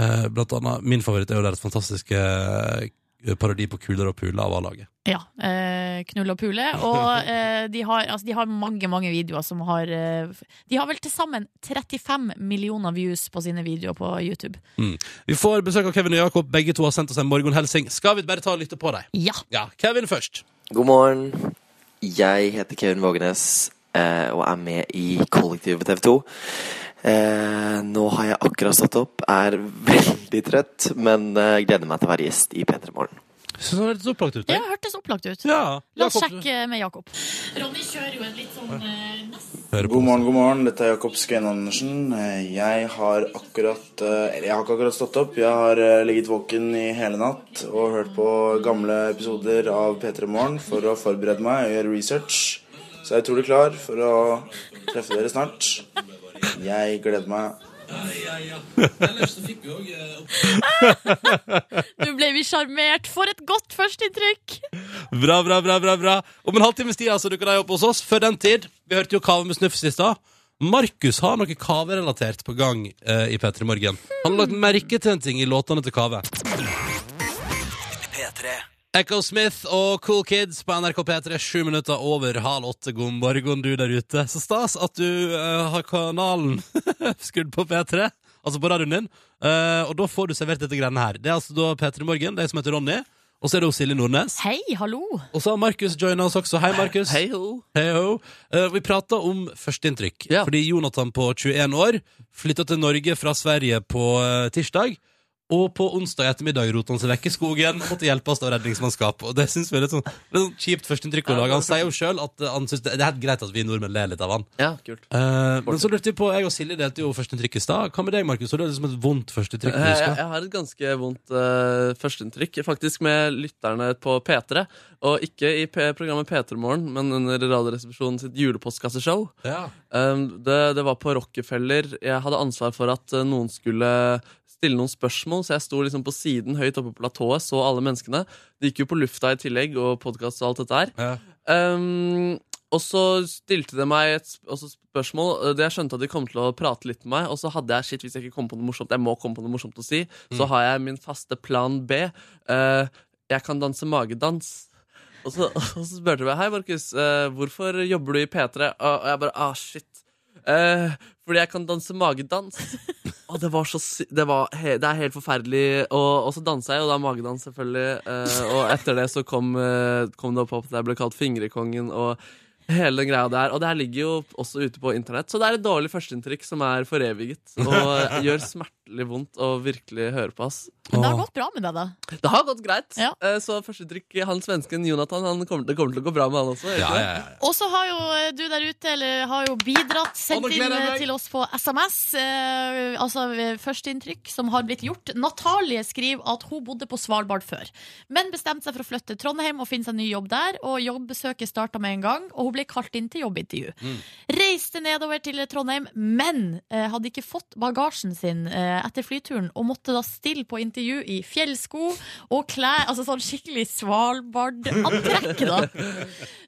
Eh, blant annet min favoritt er jo deres fantastiske eh, parodi på Kuler og puler av A-laget.
Ja. Eh, knull og pule.
<laughs>
Og eh, de, har, altså, de har mange, mange videoer som har eh, f- De har vel til sammen 35 millioner views på sine videoer på YouTube.
Vi får besøk av Kevin og Jakob. Begge to har sendt oss en morgenhelsing. Skal vi bare ta og lytte på dem?
Ja.
Ja, Kevin først.
God morgen. Jeg heter Kevin Vågenes eh, og er med i kollektivet på TV 2. Eh, nå har jeg akkurat stått opp, er <laughs> veldig trøtt, men eh, gleder meg til å være gjest i P3 Morgen.
Syns han hørtes opplagt ut.
Det
jeg.
hørtes opplagt ut.
Ja,
La oss
Jakob, du-
sjekke med Jakob. Ronny kjører jo en litt sånn
Hører på
God
oss.
morgen, god morgen. Dette er Jakob Skøyen Andersen. Eh, Jeg har akkurat eh, Eller jeg har ikke akkurat stått opp. Jeg har eh, ligget våken i hele natt og hørt på gamle episoder av P3 Morgen for å forberede meg og gjøre research. Så jeg er utrolig klar for å treffe dere snart. Jeg gleder meg.
Nå ble vi sjarmert! For et godt førsteinntrykk!
Bra, bra, bra, bra, bra. Om en halvtimes tid altså, dukker de opp hos oss. Før den tid, vi hørte jo Kave med snufs i stad. Markus har noe kaverelatert på gang eh, i P3 Morgen. Han har lagt merke til en ting i låtene til Kave.
P3.
Echo Smith og Cool Kids på NRK P3, sju minutter over halv åtte. God morgen, du der ute. Så stas at du eh, har kanalen <laughs> skrudd på P3, altså på radioen din. Eh, og da får du servert dette greiene her. Det er altså da P3 Morgen, det som heter Ronny. Og så er det jo Silje Nordnes.
Hei, hallo!
Og så har Markus joina oss også. Hei, Markus.
Hei ho!
Hei, ho. Eh, vi prata om førsteinntrykk.
Ja.
Fordi Jonathan på 21 år flytta til Norge fra Sverige på eh, tirsdag. Og på onsdag ettermiddag rota han seg vekk i skogen og måtte hjelpes av redningsmannskap. Og Det synes vi er litt sånn, litt sånn kjipt førsteinntrykk å lage. Han sier jo sjøl at eh, han synes det, det er helt greit at vi nordmenn ler litt av han.
Ja, kult.
Eh, men så lurte vi på, jeg og Silje delte jo førsteinntrykk i stad. Hva med deg, Markus? Har du liksom et vondt førsteinntrykk? du
Eh, Jeg,
husker?
jeg har et ganske vondt uh, førsteinntrykk, faktisk med lytterne på P3. Og ikke i P programmet P3 Morgen, men under Radioresepsjonen sitt Eh, julepostkasseshow.
Ja.
Um, det, det var på Rockefeller. Jeg hadde ansvar for at uh, noen skulle eh, stille noen spørsmål Gardermoen, så jeg sto liksom på siden høyt oppe på platået, så alle menneskene. Det gikk jo på lufta i tillegg, og podkast og alt dette her.
Ja.
Ehm, og så stilte de meg et sp- også spørsmål. eh, Det jeg skjønte at de kom til å prate litt med meg, og så hadde jeg shit, hvis jeg ikke kom på noe morsomt, jeg må komme på noe morsomt å si, så har jeg min faste plan B. Eh, jeg kan danse magedans. Og så, <laughs> og så spurte de meg Hei, Markus, eh, hvorfor jobber du i P3? Og, og jeg bare ah, shit. Eh, fordi jeg kan danse magedans. Og det var så sy- Det, var he det er helt forferdelig. Og, og så dansa jeg, og da magedans, selvfølgelig. Eh, og etter det så kom, eh, kom det opp at jeg ble kalt Fingrekongen og hele den greia der. Og det her ligger jo også ute på internett, så det er et dårlig førsteinntrykk som er foreviget. Og gjør smertelig vondt å virkelig høre på, ass.
Men det har gått bra med deg, da.
Det har gått greit.
Ja.
Eh, Så førsteinntrykk Han svensken Jonathan, han kommer, det kommer til å gå bra med han også.
Ja, ja, ja.
Og så har jo eh, du der ute eller har jo bidratt,
Å,
sendt
nå gleder
inn
jeg
eh,
meg.
til oss på SMS. Eh, altså eh, førsteinntrykk som har blitt gjort. Natalie skriver at hun bodde på Svalbard før, men bestemte seg for å flytte til Trondheim og finne seg ny jobb der. Og Jobbesøket starta med en gang, og hun ble kalt inn til jobbintervju. Reiste nedover til Trondheim, men eh, hadde ikke fått bagasjen sin eh, etter flyturen, og måtte da stille på intervju i fjellsko og klær Altså sånn skikkelig Svalbard-antrekk,
<laughs>
da.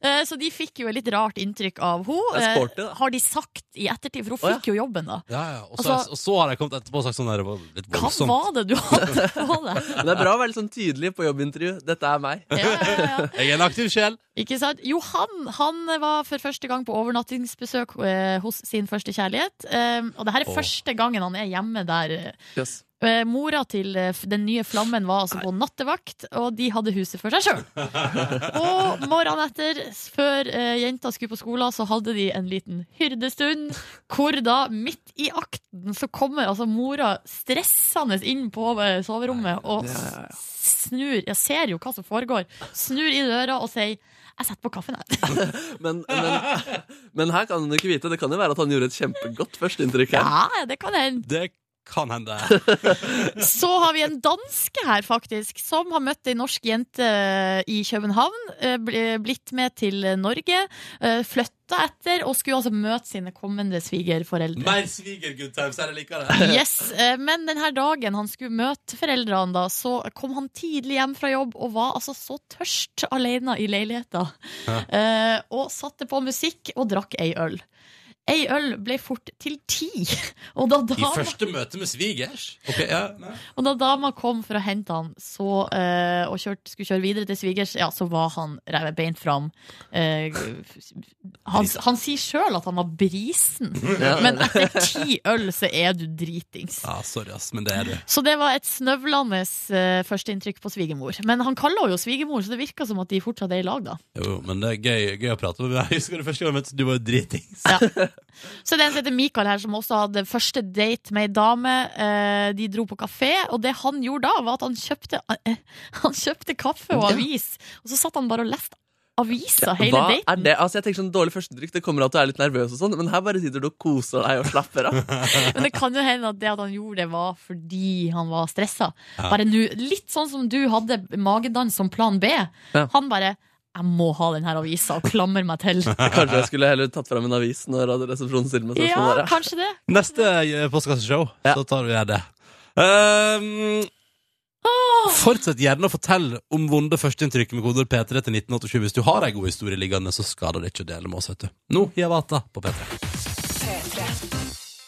Eh, Så de fikk jo et litt rart inntrykk av
Det er sporty,
henne.
da.
Har de sagt i ettertid, for hun
Å, ja.
fikk jo jobben, da.
Ja, ja. Og, så,
Altså-
og så har jeg kommet etterpå og sagt sånn der, det var litt
Hva
voldsomt.
var det du
<laughs>
hadde på deg?
Men det er bra å være litt sånn tydelig på jobbintervju. Dette er meg.
Ja, ja, ja.
Jeg er en aktiv sjel.
Ikke sant? Johan han var for første gang på overnattingsbesøk eh, hos sin første kjærlighet. Eh, og det her er
Åh.
første gangen han er hjemme der.
Yes.
Eh, mora til eh, f- den nye flammen var altså på nattevakt, og de hadde huset for seg sjøl. og morgenen etter, s- før eh, jenta skulle på skolen, så hadde de en liten hyrdestund. Hvor da, midt i akten, så kommer altså mora stressende inn på eh, soverommet og
Ja, ja, ja.
s- snur Jeg ser jo hva som foregår. Snur i døra og sier 'jeg setter på kaffen', jeg.
Men, men, men her kan hun jo ikke vite. Det kan jo være at han gjorde et kjempegodt førsteinntrykk. her.
Ja, det kan hende.
Det kan hende.
Så har vi en danske her, faktisk, som har møtt ei norsk jente i København. eh, bl- Blitt med til Norge, eh, flytta etter, og skulle altså møte sine kommende svigerforeldre.
Mer svigergoodtimes enn jeg liker det.
Yes, eh, Men denne dagen han skulle møte foreldrene, da, så kom han tidlig hjem fra jobb og var altså så tørst alene i leiligheta. Eh, Og satte på musikk og drakk ei øl. Ei øl ble fort til ti, og da
I
dama
første møte med svigers. Ok, ja.
og da dama kom for å hente han så, eh, og kjørt, skulle kjøre videre til svigers, ja, så var han revet beint fram. Eh, han, han sier sjøl at han var brisen,
Ja.
men etter ti øl så er du dritings.
ja, Ah, sorry, ass, men det er du.
Så det var et snøvlende eh, førsteinntrykk på svigermor. Men han kaller henne jo svigermor, så det virker som at de fortsatt er i lag, da.
Jo, jo, men det er gøy, gøy å prate med. Jeg husker det første gang jeg møtte du var jo dritings.
Så det er en som heter Mikael her, som også hadde første date med ei dame. Eh, de dro på kafé, og det han gjorde da, var at han kjøpte, eh, han kjøpte kaffe og
Ja.
avis. Og så satt han bare og leste avisa hele
Hva er
daten.
det? Altså, jeg tenker sånn Dårlig førsteinntrykk det kommer av at du er litt nervøs, og sånn men her bare sitter du og koser deg og slapper av.
Men det kan jo hende at det at han gjorde det, var fordi han var stressa. Bare nå, Litt sånn som du hadde magedans som plan B.
Ja.
Han bare 'Jeg må ha den her avisa', og klamrer meg
<laughs>
til.
Kanskje jeg skulle heller tatt fram en avis når Radioresepsjonen stiller meg spørsmål. der,
Ja,
ja.
kanskje det.
Neste eh, postkasseshow,
Ja.
så tar vi det. Ehm, fortsett gjerne å fortelle om vonde førsteinntrykk med koder P3 til 1987. Hvis du har ei god historie liggende, så skader det ikke å dele med oss, vet du. Nå gir vi Ata på P3.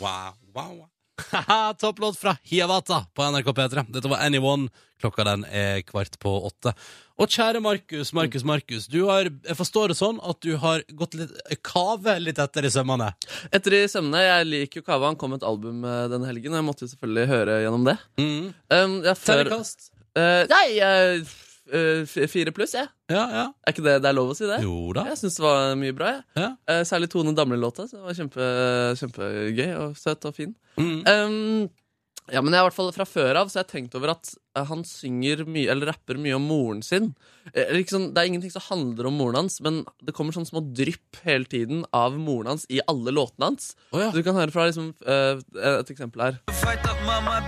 Wow, wow, wow. Haha, Topplåt fra Hiawatha på NRK P3. Dette var Anyone. Klokka den er kvart på åtte. Og kjære Markus, Markus, Markus. Du har, jeg forstår det sånn at du har gått litt kave litt etter i sømmene.
Etter i sømmene, Jeg liker jo Kava. Han kom med et album eh, denne helgen, og jeg måtte jo selvfølgelig høre gjennom det.
Mm.
Um, jeg, før,
Terningkast.
Eh, nei, jeg, eh, f- fire pluss, jeg.
Ja, ja.
Er ikke det det er lov å si det?
Jo da.
Jeg syns det var mye bra. jeg.
Ja.
Eh, Særlig Tone Damli-låta. så Det var kjempe, kjempegøy og søt og fin.
Mm.
Um, ja, men jeg, er i hvert fall fra før av så har jeg tenkt over at eh, han synger mye, eller rapper mye om moren sin. Eh, eller ikke sånn- det er ingenting som handler om moren hans, men det kommer sånn små drypp hele tiden av moren hans i alle låtene hans.
Å, ja.
Så du kan høre fra liksom, eh, et eksempel her.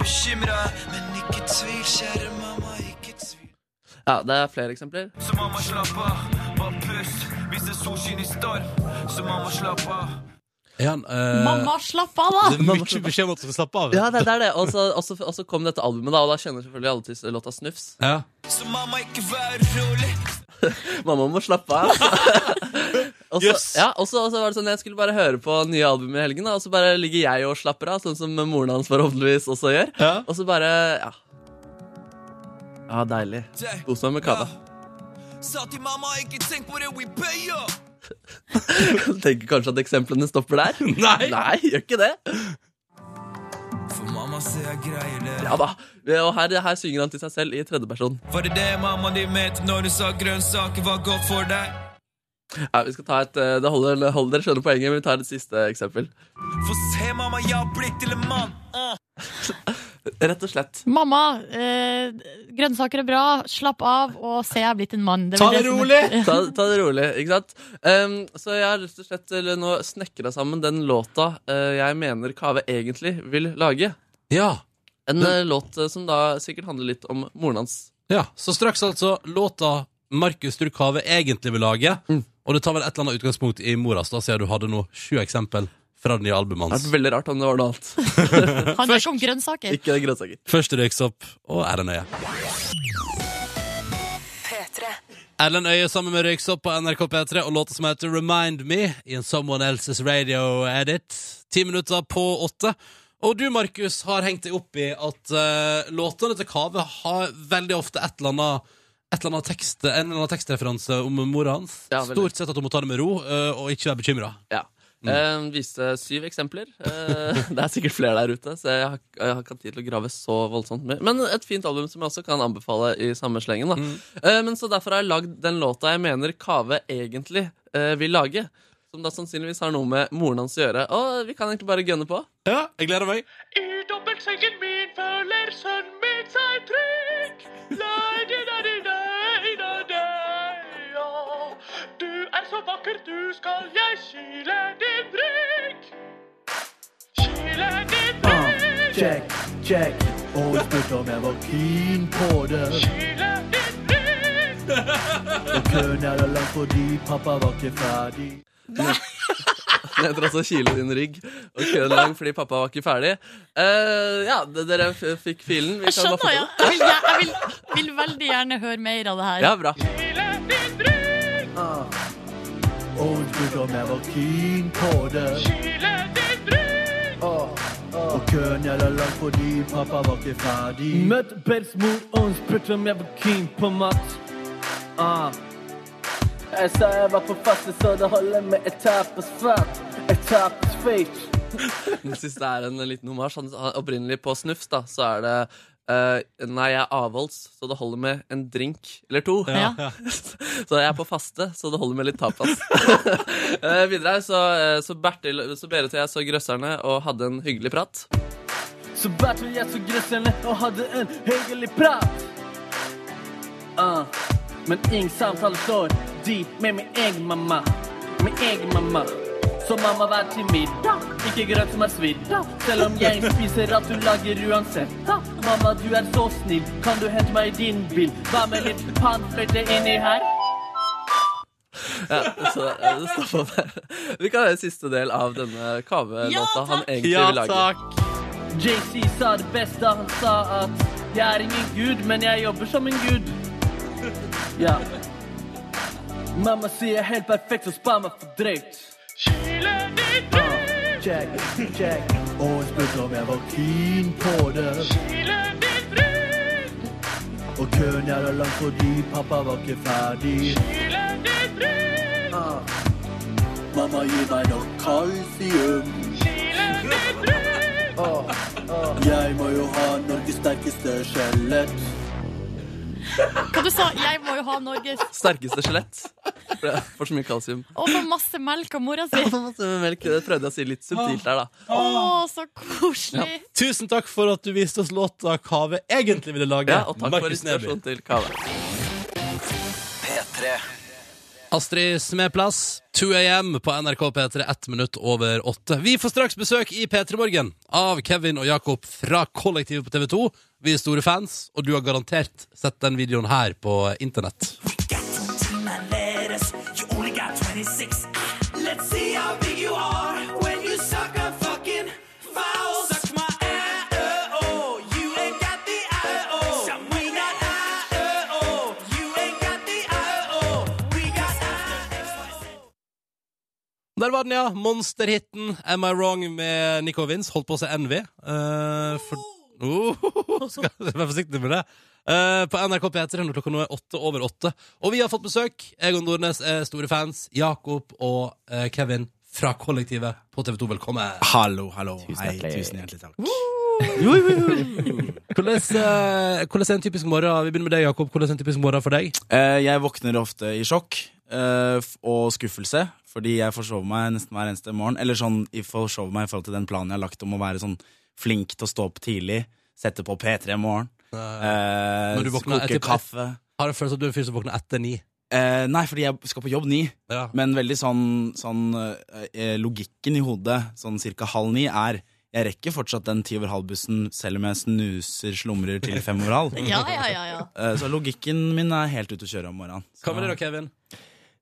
Ja, det er flere eksempler.
Er han eh,
Mamma, slapp av, da!
<laughs> Det er mye beskjed om at du skal slappe av.
Ja, <laughs> det, det er det. Og så, og, så, og så kom dette albumet, da, og da kjenner selvfølgelig alle til låta Snufs.
Ja.
Mamma må slappe
<laughs>
av. Og så-
Yes.
ja, og så og så var det sånn, Jeg skulle bare høre på nye album i helgen, da, og så bare ligger jeg og slapper av, sånn som moren hans forhåpentligvis også gjør.
Ja.
Og så bare Ja. Ja, deilig. Kos meg med kava. <laughs> Tenker kanskje at eksemplene stopper der.
<laughs> Nei.
Nei, gjør ikke det. Ja da. Og her, her synger han til seg selv i tredjeperson. Ja, vi skal ta et, eh, det holder, det holder dere skjønner poenget, men vi tar et siste eksempel.
Uh.
Rett og slett.
Mamma, eh, grønnsaker er bra, slapp av, og se jeg er blitt en mann. Det
Ta
var
det
som-
rolig!
Ta, ta det rolig, ikke sant? Ehm, så jeg har rett og slett eller, nå snekra sammen den låta eh, jeg mener Kave egentlig vil lage.
Ja.
En eh, låt eh, som da sikkert handler litt om moren hans.
ja. Så straks, altså, låta Markus Turkave egentlig vil lage.
Mm.
Og det tar vel et eller annet utgangspunkt i moras, da, siden du hadde nå sju eksempel fra det nye albumet
Det hadde
hans.
vært veldig rart om det var noe annet.
Handler ikke om grønnsaker.
<laughs> Ikke grønnsaker.
Først Røyksopp og Erlend Øye.
P3.
Erlend Øye sammen med Røyksopp på NRK P3 og låta som heter Remind Me i en Someone Else's Radio Edit. Ti minutter på åtte. Og du, Markus, har hengt deg opp i at eh, låtene til Kave har veldig ofte et eller annet et eller annet tekst, en eller annen tekstreferanse om mora hans.
Ja, veldig.
Stort sett at hun må ta det med ro eh, og ikke være bekymra.
Ja. Mm. viste syv eksempler. Eh, <laughs> det er sikkert flere der ute, så jeg har, jeg har ikke hatt tid til å grave så voldsomt mye. Men et fint album som jeg også kan anbefale i samme slengen. Da. Eh, men så derfor har jeg lagd den låta jeg mener Kave egentlig eh, vil lage. Som da sannsynligvis har noe med moren hans å gjøre. Og vi kan egentlig bare gønne på.
Ja, jeg gleder meg.
I dobbeltsengen min føler sønnen min seg trygg. La-di-da-di-da-di-da-di-da. Du er så vakker, du skal jeg kile din rygg. Kile din rygg,
Ah, Check, check. Og hun spurte om jeg var keen på det.
kile din rygg.
<laughs> Og køen er lang fordi pappa var ikke ferdig.
<laughs> Den heter altså 'Kile din rygg' og køen lang fordi pappa var ikke ferdig. Eh, ja, d- dere f fikk filen. Vi
Jeg
kan bare
skjønner, ja.
fortsette.
Jeg vil, jeg vil, vil veldig gjerne høre mer av det her.
Ja, bra.
Og hun spurte om jeg var keen på det. Åh, åh. Og køen er lang fordi pappa var ikke ferdig. Møtte Bens mor, og hun spurte om jeg var keen på mat. Ah. Jeg sa jeg var for fattig, så det holder med et tapasfat. Et tapasfate.
Den siste er en liten homasj. Han, han, opprinnelig på Snufs da, så er det eh, Nei, jeg er avholds, så det holder med en drink eller to.
Ja.
<laughs> så jeg er på faste, så det holder med litt tapas. <laughs> Eh, videre her, så, eh, så Bertil så Berit og jeg så Grøsserne og hadde en hyggelig prat.
Så bærte jeg så gressene og hadde en hyggelig prat. Ah, men ingen samtale står de med min egen mamma. Min egen mamma. Så mamma hver til middag. Ikke grønt som er svidd. da. Selv om jeg spiser alt hun lager uansett. da. Mamma, du er så snill. Kan du hente meg i din bil? Hva med litt panfløyte inni her?
Ja, så eh, det stopper der. <laughs> Vi kan høre siste del av denne kavelåta
Ja, takk.
han egentlig vil lage.
JC sa det best da han sa at Jeg er ingen gud, men jeg jobber som en gud. <laughs> Ja. Mamma sier jeg er helt perfekt, så spar meg for drøyt.
Kile din rygg,
Check, check. Og hun spurte om jeg var keen på det.
kile din rygg,
Og køen er da lang fordi pappa var ikke ferdig.
kile din rygg,
Ah. Mamma, gi meg nok kalsium.
kile din rygg.
Ah, Jeg må jo ha Norges sterkeste skjelett.
Hva du sa? Jeg må jo ha Norges
Sterkeste skjelett. For det er For så mye kalsium.
Og få masse melk av mora si.
Og masse melk. Det prøvde jeg å si litt subtilt der, da.
Å, så koselig.
Tusen takk for at du viste oss låta Kave egentlig ville lage.
Ja, og takk for
Markus Neby.
inspirasjon til Kave.
P3.
Astrid Smeplass, 2 AM på NRK P3, ett minutt over åtte. Vi får straks besøk i P3 Morgen av Kevin og Jakob fra Kollektivet på TV 2. Vi er store fans, og du har garantert sett den videoen her på internett.
You only got 26. Let's see how big you are when you
Der var den, ja. Monsterhiten Am I Wrong med Nico Vince. Holdt på å si NV. eh, for... Oh, <laughs> skal Vær forsiktig med det. Eh, på NRK P3 når klokka nå er åtte over åtte. Og vi har fått besøk. Jeg og Nordnes er store fans. Jakob og eh, Kevin fra Kollektivet på TV2, velkommen.
Hallo, hallo. Hei,
hjertelig.
tusen hjertelig takk.
Jo, jo, jo. Hvordan, eh, hvordan er en typisk morgen Vi begynner med deg, Jakob. Hvordan er en typisk morgen for deg?
Eh, jeg våkner ofte i sjokk eh, f- og skuffelse, fordi jeg forsover meg nesten hver eneste morgen. Eller sånn, jeg forsover meg i forhold til den planen jeg har lagt om å være sånn flink til å stå opp tidlig, sette på P3 i morgen, eh,
Når du våkner
koke
etter-
kaffe.
Har du følelsen av at du er en fyr som våkner etter ni?
Eh, nei, fordi jeg skal på jobb ni, men veldig sånn, sånn eh, logikken i hodet, sånn cirka halv ni, er jeg rekker fortsatt den ti over halv-bussen selv om jeg snuser, slumrer til fem over halv.
<laughs> Ja, ja, ja, ja.
Eh, Så logikken min er helt ute å kjøre om morgenen.
Hva med det da, Kevin?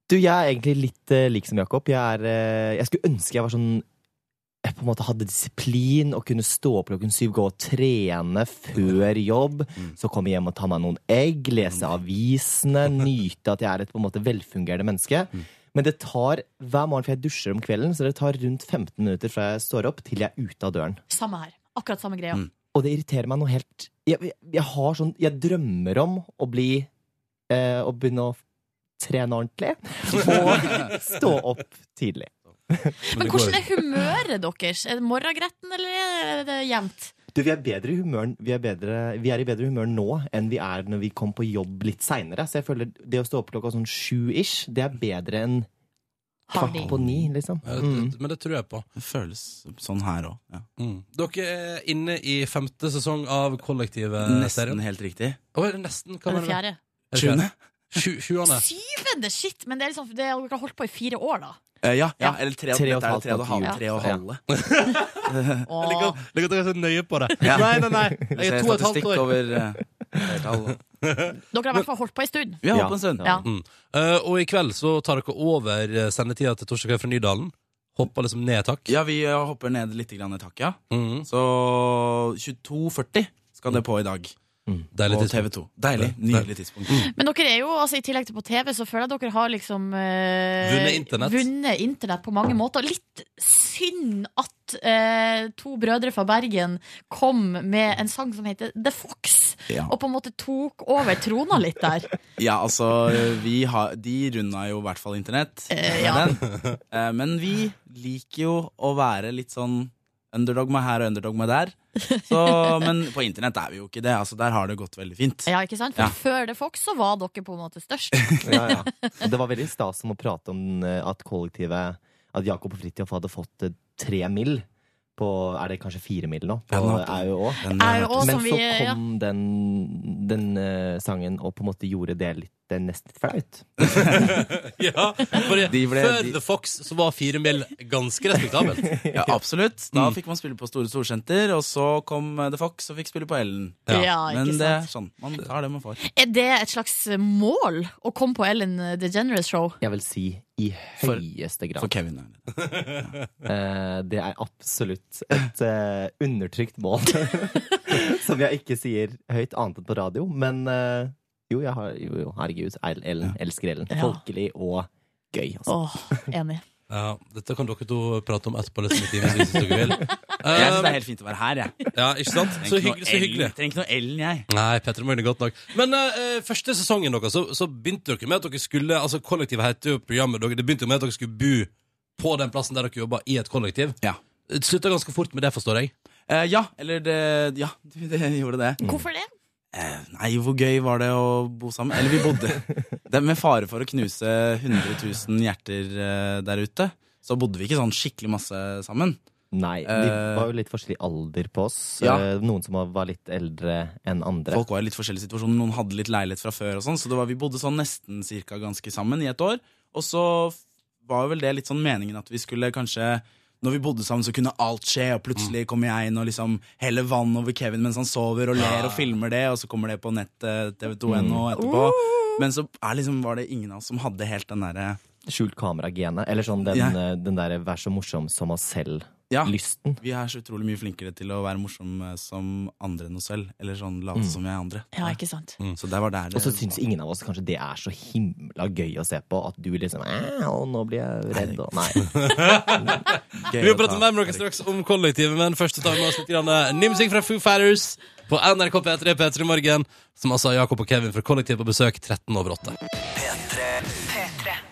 Du, jeg er egentlig litt eh, lik som Jakob. Jeg, er, eh, jeg skulle ønske jeg var sånn jeg på en måte hadde disiplin og kunne stå opp klokken syv, gå og trene før jobb. Så komme hjem og ta meg noen egg, lese avisene, nyte at jeg er et på en måte velfungerende menneske. Men det tar hver morgen, for jeg dusjer om kvelden, så det tar rundt 15 minutter fra jeg står opp, til jeg er ute av døren.
Samme her. Akkurat samme greia.
Og det irriterer meg noe helt Jeg, jeg, jeg har sånn Jeg drømmer om å bli eh, Å begynne å trene ordentlig. Og stå opp tidlig.
Men hvordan er humøret deres? Er det morgengretten, eller er det jevnt?
Du, vi er, bedre i humøren, vi, er bedre, vi er i bedre humør nå enn vi er når vi kom på jobb litt seinere. Så jeg føler det å stå opp klokka sånn sju-ish, det er bedre enn kvart på ni, liksom.
Ja, det- Men det tror jeg på.
Det føles sånn her òg. Ja.
Dere er inne i femte sesong av Kollektivet-serien.
Nesten helt riktig.
Å, er det nesten? Hva
Er
mener du?
det fjerde?
Er det
Sjuende?
Sju- Sjuende.
Syvende, shit! Men det er liksom, det er, dere har holdt på i fire år, da.
Eh, ja, ja, eller tre,
Tre og
dette
et
er
halvt
tre og et
mot
halvt.
jul.
Tre og
Ja.
halve.
<laughs> Jeg liker at- liker at dere er så nøye på det.
Ja.
Nei,
<laughs>
nei, nei.
Vi
Jeg er
ser
to og et halvt
statistikk
år.
over, eh,
Dere har i hvert fall holdt på en stund.
Vi har holdt på en stund.
Ja.
Mm. <laughs> Eh, og i kveld så tar dere over eh, sendetida til Torsdag kveld fra Nydalen. Hopper liksom ned, takk.
Ja, vi eh, hopper ned litt grann i takk, ja.
Mhm.
Så 22.40 skal det på i dag.
Deilig
på
tidspunkt.
TV2. Deilig. Nydelig tidspunkt. Mm.
Men dere er jo, altså i tillegg til på TV, så føler jeg at dere har liksom eh,
Vunnet internett.
vunnet internett på mange måter. Litt synd at eh, to brødre fra Bergen kom med en sang som heter The Fox,
Ja.
og på en måte tok over trona litt der.
<laughs> Ja, altså, vi har, de runda jo i hvert fall internett. med <laughs>
ja.
den. Eh, Men vi liker jo å være litt sånn underdog med her og underdog med der. Så, men på internett er vi jo ikke det. Altså, der har det gått veldig fint.
Ja, ikke sant? For
Ja.
før The Fox så var dere på en måte størst.
Ja, ja. Og det var veldig stas om å prate om eh, at kollektivet At Jakob og Fridtjof hadde fått eh, tre mil. På, er det kanskje fire mil nå? På
Ja, den har vært-
AUÅ.
den
har vært- AUÅ
Men
som vi, eh,
så
ja.
kom den, den eh, sangen og på en måte gjorde det litt det er nesten litt flaut.
<laughs> Ja, for
De ble-
Før
de-
The Fox så var fire mil ganske <laughs> respektabelt.
Ja, absolutt.
Mm.
Da fikk man spille på Store Storsenter, og så kom eh, The Fox og fikk spille på Ellen.
Ja. Ja,
Men
ikke
det er sånn. Man tar det man får.
Er det et slags mål å komme på Ellen DeGeneres show?
Jeg vil si i høyeste grad.
For Kevin.
Eh, det er absolutt et eh, undertrykt mål. <laughs> Som jeg ikke sier høyt annet enn på radio. Men eh, jo, jeg har, jo, jo, herregud. El- Ellen. Elsker Ellen.
Ja.
Folkelig og gøy. Altså.
Åh, enig.
Ja, dette kan dere to prate om etterpå. Liksom, i timen, hvis dere vil.
Jeg synes det er helt fint å være her, jeg.
Ja, ikke sant?
Trenger
Så
ikke noe
hyggelig, så
Ellen-
hyggelig.
Trenger ikke noe Ellen, jeg.
Nei, Petter Morgen er godt nok. Men eh, eh, første sesongen deres, så, så begynte dere med at dere skulle Altså, kollektivet heter jo programmet dere, Det begynte jo med at dere skulle bo på den plassen der dere jobba, i et kollektiv.
Ja.
Det Slutta ganske fort med det, forstår jeg.
Eh, ja, eller det Ja, <laughs> det gjorde det.
Hvorfor det?
Eh, nei, hvor gøy var det å bo sammen? Eller vi bodde det er Med fare for å knuse 100 000 Eh, hjerter eh, der ute, så bodde vi ikke sånn skikkelig masse sammen.
Nei, de
Eh,
var jo litt forskjellig alder på oss.
ja.
Eh, noen som var litt eldre enn andre.
Folk var i litt forskjellige situasjoner. Noen hadde litt leilighet fra før, og sånn, så det var, vi bodde sånn nesten cirka ganske sammen i et år. Og så var vel det litt sånn meningen at vi skulle kanskje når vi bodde sammen, så kunne alt skje, og plutselig kommer jeg inn og liksom heller vann over Kevin mens han sover, og ler og filmer det, og så kommer det på eh, nettet tv2.no etterpå. Men så er liksom, var det ingen av oss som hadde helt den derre
Skjult kamera-genet. Eller sånn den,
Ja.
eh, den derre vær så morsom som oss selv. lysten.
Vi er så utrolig mye flinkere til å være morsomme som andre enn oss selv. Eller sånn late
Mm.
som vi er andre.
Ja, ikke sant?
Så der var der det
Og så syns ingen av oss kanskje det er så himla gøy å se på at du liksom «Æ, Og nå blir jeg redd, og
<laughs>
nei.
Vi vil prate mer med dere straks om kollektivet, men først så tar vi med oss litt grann, eh, Nimsing fra Foo Fighters på NRK P3 P3 Morgen, som altså har Jakob og Kevin fra Kollektivet på besøk 13 over 8.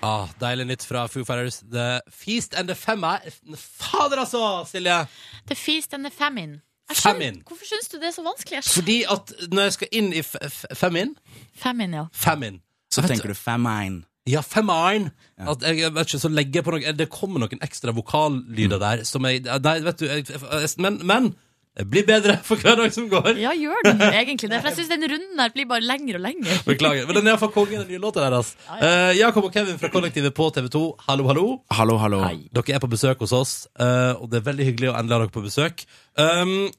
Ah, deilig nytt fra Foo Fighters. The Feast and the Femmer. Fader, altså, Silje!
The feast and the famine. Jeg skjønner-
Famine.
Hvorfor syns du det er så vanskelig? Jeg skjønner-
Fordi at når jeg skal inn i f f femin
Famine, ja.
Femin
Så tenker du famine.
Ja, femine At jeg, jeg vet ikke, så legger jeg på noe Det kommer noen ekstra
Mm.
vokallyder der Som jeg, nei, vet du jeg, jeg, Men, men Det blir bedre for hver dag som går
Ja, gjør den egentlig det? For jeg syns den runden her blir bare lengre og lengre.
Beklager, men den er iallfall kongen, den nye låta deres. Eh, Jakob og Kevin fra Kollektivet på TV2, hallo, hallo.
Hallo, hallo.
Dere er på besøk hos oss, eh, og det er veldig hyggelig å endelig ha dere på besøk. Um,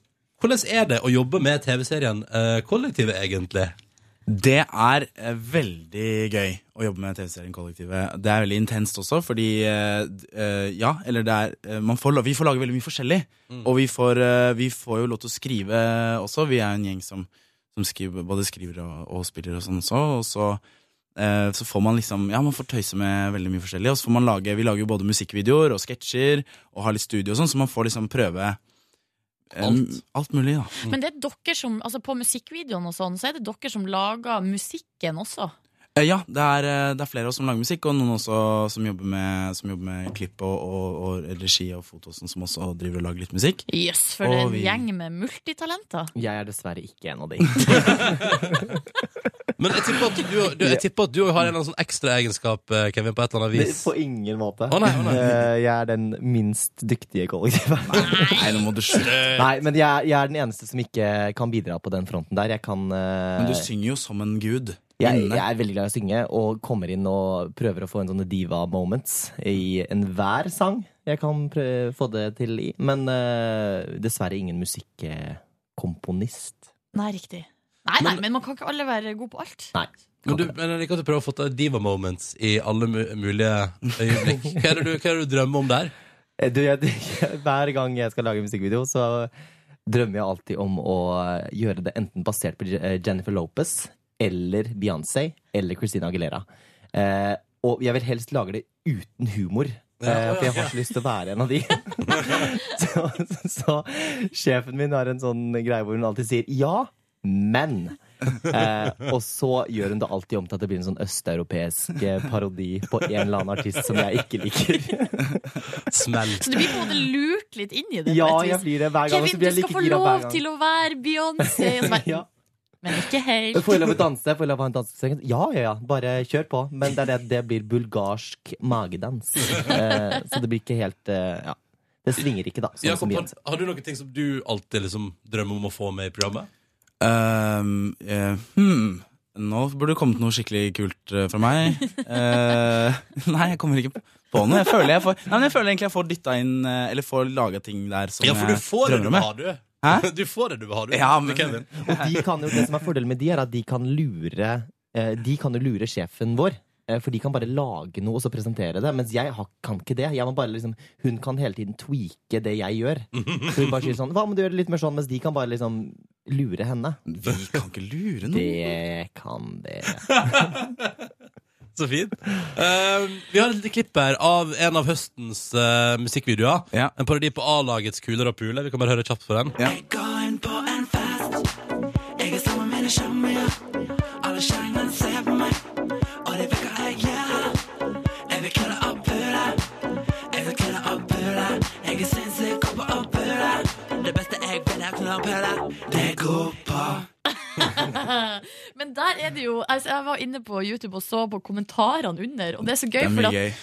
hvordan er det å jobbe med TV-serien eh, Kollektivet, egentlig?
Det er eh, veldig gøy å jobbe med TV-serien Kollektivet. Det er veldig intenst også, fordi eh, d- eh, Ja, eller det er eh, man får, la- Vi får lage veldig mye forskjellig. Og vi får, eh, vi får jo lov til å skrive også. Vi er jo en gjeng som, som skriver, både skriver og, og spiller og sånn også. Og så, eh, så får man liksom Ja, man får tøyse med veldig mye forskjellig. Og så får man lage Vi lager jo både musikkvideoer og sketsjer og har litt studio og sånn, så man får liksom prøve eh,
Alt.
alt mulig, da.
Men det er dere som, altså på musikkvideoen og sånn, så er det dere som lager musikken også.
Eh, Ja, det er, eh, det er flere av oss som lager musikk, og noen også som jobber med, som jobber med klipp og, og, og regi og foto, og sånn, som også driver og lager litt musikk.
Jøss, yes, for
Og
det er en
vi-
gjeng med multitalenter.
Jeg er dessverre ikke en av
<laughs>
de.
Men jeg tipper at du, du, jeg tipper at du har en eller annen sånn ekstra egenskap, eh, Kevin, på et eller annet
Nei,
vis.
På ingen måte.
Å, nei, å, nei.
Eh, Jeg er den minst dyktige i kollektivet.
Nei, nå må du slutte.
Nei, men jeg, er- jeg er den eneste som ikke kan bidra på den fronten der. Jeg kan eh,
Men du synger jo som en gud.
jeg,
inne.
jeg er veldig glad i å synge, og kommer inn og prøver å få en sånne diva-moments i enhver sang jeg kan prø- få det til i. Men eh, dessverre ingen musikkomponist.
Nei, riktig. Nei, nei, men man kan ikke alle være gode på alt.
Nei.
Men, du, men jeg liker at du prøver å få til diva moments i alle mu mulige <laughs> øyeblikk. Hva er det du, hva er det du drømmer om der?
Eh, Du, jeg, <laughs> hver gang jeg skal lage musikkvideo, så drømmer jeg alltid om å eh, gjøre det enten basert på Je- eh, Jennifer Lopez eller Beyoncé eller Christina Aguilera. Eh, og jeg vil helst lage det uten humor.
Ja,
eh, for jeg
ja.
har så lyst til å være en av de. <laughs> så, så sjefen min har en sånn greie hvor hun alltid sier ja, men. Eh, og så gjør hun det alltid om til at det blir en sånn østeuropeisk eh, parodi på en eller annen artist som jeg ikke liker.
Smell.
Så du blir på en måte lurt litt inn i det. på
Ja,
et vis.
jeg blir det hver gang. og så blir
Kevin, du
jeg
skal
like
få
gira hver
lov
gang.
til å være Beyoncé. og så bare,
<laughs> Ja.
Men ikke helt.
Får jeg lov å danse? Får jeg lov å ha en dansesekvens? Ja, ja, ja. Bare kjør på. Men det er det at det blir bulgarsk magedans. Eh, så det blir ikke helt eh, Ja. Det svinger ikke, da. Sånn som
Jakob, har,
Beyoncé.
har du noen ting som du alltid liksom drømmer om å få med i programmet?
Ehm, eh, hmm. Nå burde det kommet noe skikkelig kult eh, fra meg. Eh, <laughs> nei, jeg kommer ikke på noe. Jeg føler, jeg får, nei, men jeg føler egentlig jeg får dytta inn eh, Eller får laga ting der som
Ja, for du
jeg
får det du
drømmer om.
vil ha, du.
Hæ?
<laughs> Du får det du vil ha, du.
Ja, men-
Kevin.
Og de kan jo, det som er fordelen med de, er at de kan lure eh, De kan jo lure sjefen vår. eh, For de kan bare lage noe og så presentere det. Mens jeg har, kan ikke det. Jeg må bare liksom, hun kan hele tiden tweake det jeg gjør. Så hun bare sier sånn Hva om du gjør det litt mer sånn? Mens de kan bare liksom lure henne.
Vi kan ikke lure noen.
Det kan det.
Så fint. Eh, vi har et lite klipp her av en av høstens eh, musikkvideoer.
Ja.
En parodi på A-lagets Kuler og puler. Vi kan bare høre kjapt på den.
Ja.
Men der er det jo altså Jeg var inne på YouTube og så på kommentarene under, og det er så
Det
gøy.
er
for
mye
at
gøy.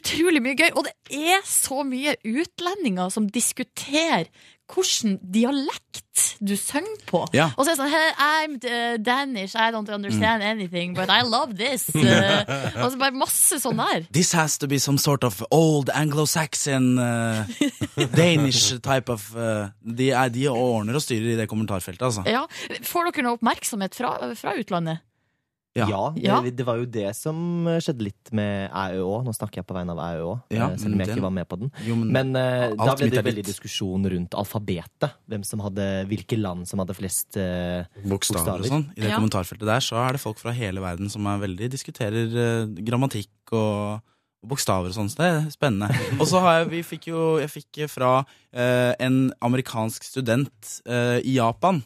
utrolig mye gøy. Og det er så mye utlendinger som diskuterer hvilken dialekt du synger på.
Ja.
Og så er det sånn hey, I'm eh, Danish, I don't understand anything, but I love this. Eh, og så bare masse sånn der.
This has to be some sort of old Anglo-Saxon uh, Danish type of uh, de, er, de ordner og styrer i det kommentarfeltet, altså.
Ja. Får dere noe oppmerksomhet fra, fra utlandet?
Ja,
Ja.
Det, det var jo det som eh, skjedde litt med æ òg. Nå snakker jeg på vegne av æ òg,
Ja,
eh, selv om
men
jeg
den-
ikke var med på den.
Jo, men
men eh,
alt
da ble
mitt
det
er
veldig
ditt.
diskusjon rundt alfabetet. Hvem som hadde, hvilke land som hadde flest eh,
bokstaver og sånn. I det kommentarfeltet der så er det folk fra hele verden som er veldig diskuterer eh, grammatikk og, og bokstaver og sånn, så det er spennende. Og så har jeg, vi fikk jo, jeg fikk fra eh, en amerikansk student eh, i Japan,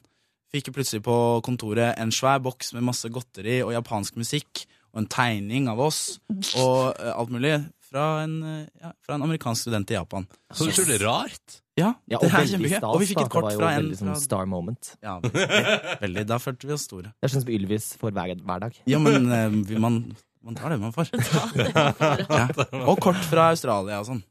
fikk jo plutselig på kontoret en svær boks med masse godteri og japansk musikk, og en tegning av oss, og eh, alt mulig, fra en, eh, ja, fra en amerikansk student i Japan.
Så du tror det er rart?
Ja,
Ja,
det
og
er
veldig
kjempegøy.
stas,
Og vi fikk
da.
et kort
det var jo
fra en
veldig sånn
fra...
star moment.
Ja, veldig, veldig. Da følte vi oss store.
Det er sånn som Ylvis får hver, hver dag.
Ja, men eh, vi- man, man tar det <laughs> man får. Ja. Og kort fra Australia og sånn.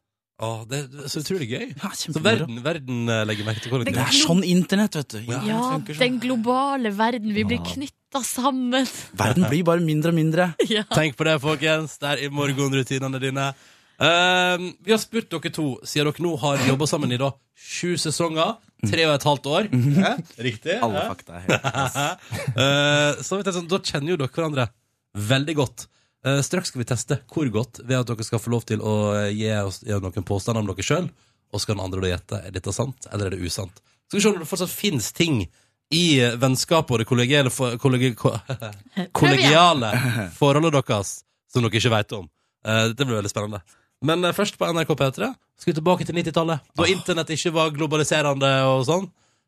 Åh, det er så utrolig gøy.
<laughs> så
verden, verden eh, legger merke til hvordan
Det er sånn internett, vet du. Internett
Ja,
funker sånn.
den globale verden. Vi blir
Ja.
knytta sammen. <laughs>
Verden blir bare mindre og mindre.
Ja.
Tenk på det, folkens. Det er i morgenrutinene dine. Ehm, vi har spurt dere to, siden dere nå har jobba sammen i da sju sesonger. Tre og et halvt år. Hæ? Riktig?
Alle
hæ?
fakta er helt
<laughs> Eh, så vi tenker sånn, Da kjenner jo dere hverandre veldig godt. Eh, straks skal vi teste hvor godt, ved at dere skal få lov til å eh, gi oss gjøre noen påstander om dere sjøl. Og så skal den andre da gjette er dette sant eller er det usant. Skal vi se om det fortsatt finnes ting i vennskapet og det kollegiale, for- kollegi, ko- <laughs> kollegiale forholdet deres som dere ikke veit om. Eh, dette blir veldig spennende. Men eh, først på NRK P3 skal vi tilbake til 90-tallet, da internett ikke var globaliserende og sånn.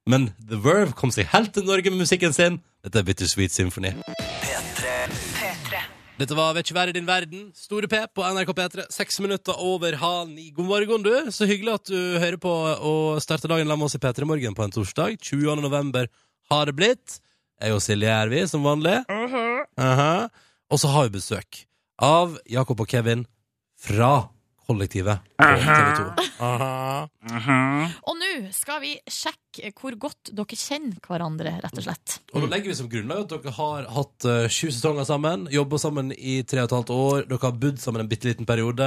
Men The Verve kom seg helt til Norge med musikken sin. Dette er Bittersweet Symphony. Dette var Vet ikke være i din verden. Store P på NRK P3. Seks minutter over halv ni. God morgen, du. Så hyggelig at du hører på og starter dagen sammen med oss i P3 Morgen på en torsdag. 20. november har det blitt. Jeg og Silje er vi, som vanlig. Aha. Og så har vi besøk av Jakob og Kevin fra kollektivet på TV 2.
Og nå skal vi sjekke hvor godt dere kjenner hverandre, rett og slett.
Og da legger vi som grunnlag at dere har hatt eh, sju sesonger sammen, jobba sammen i tre og et halvt år, dere har bodd sammen en bitte liten periode.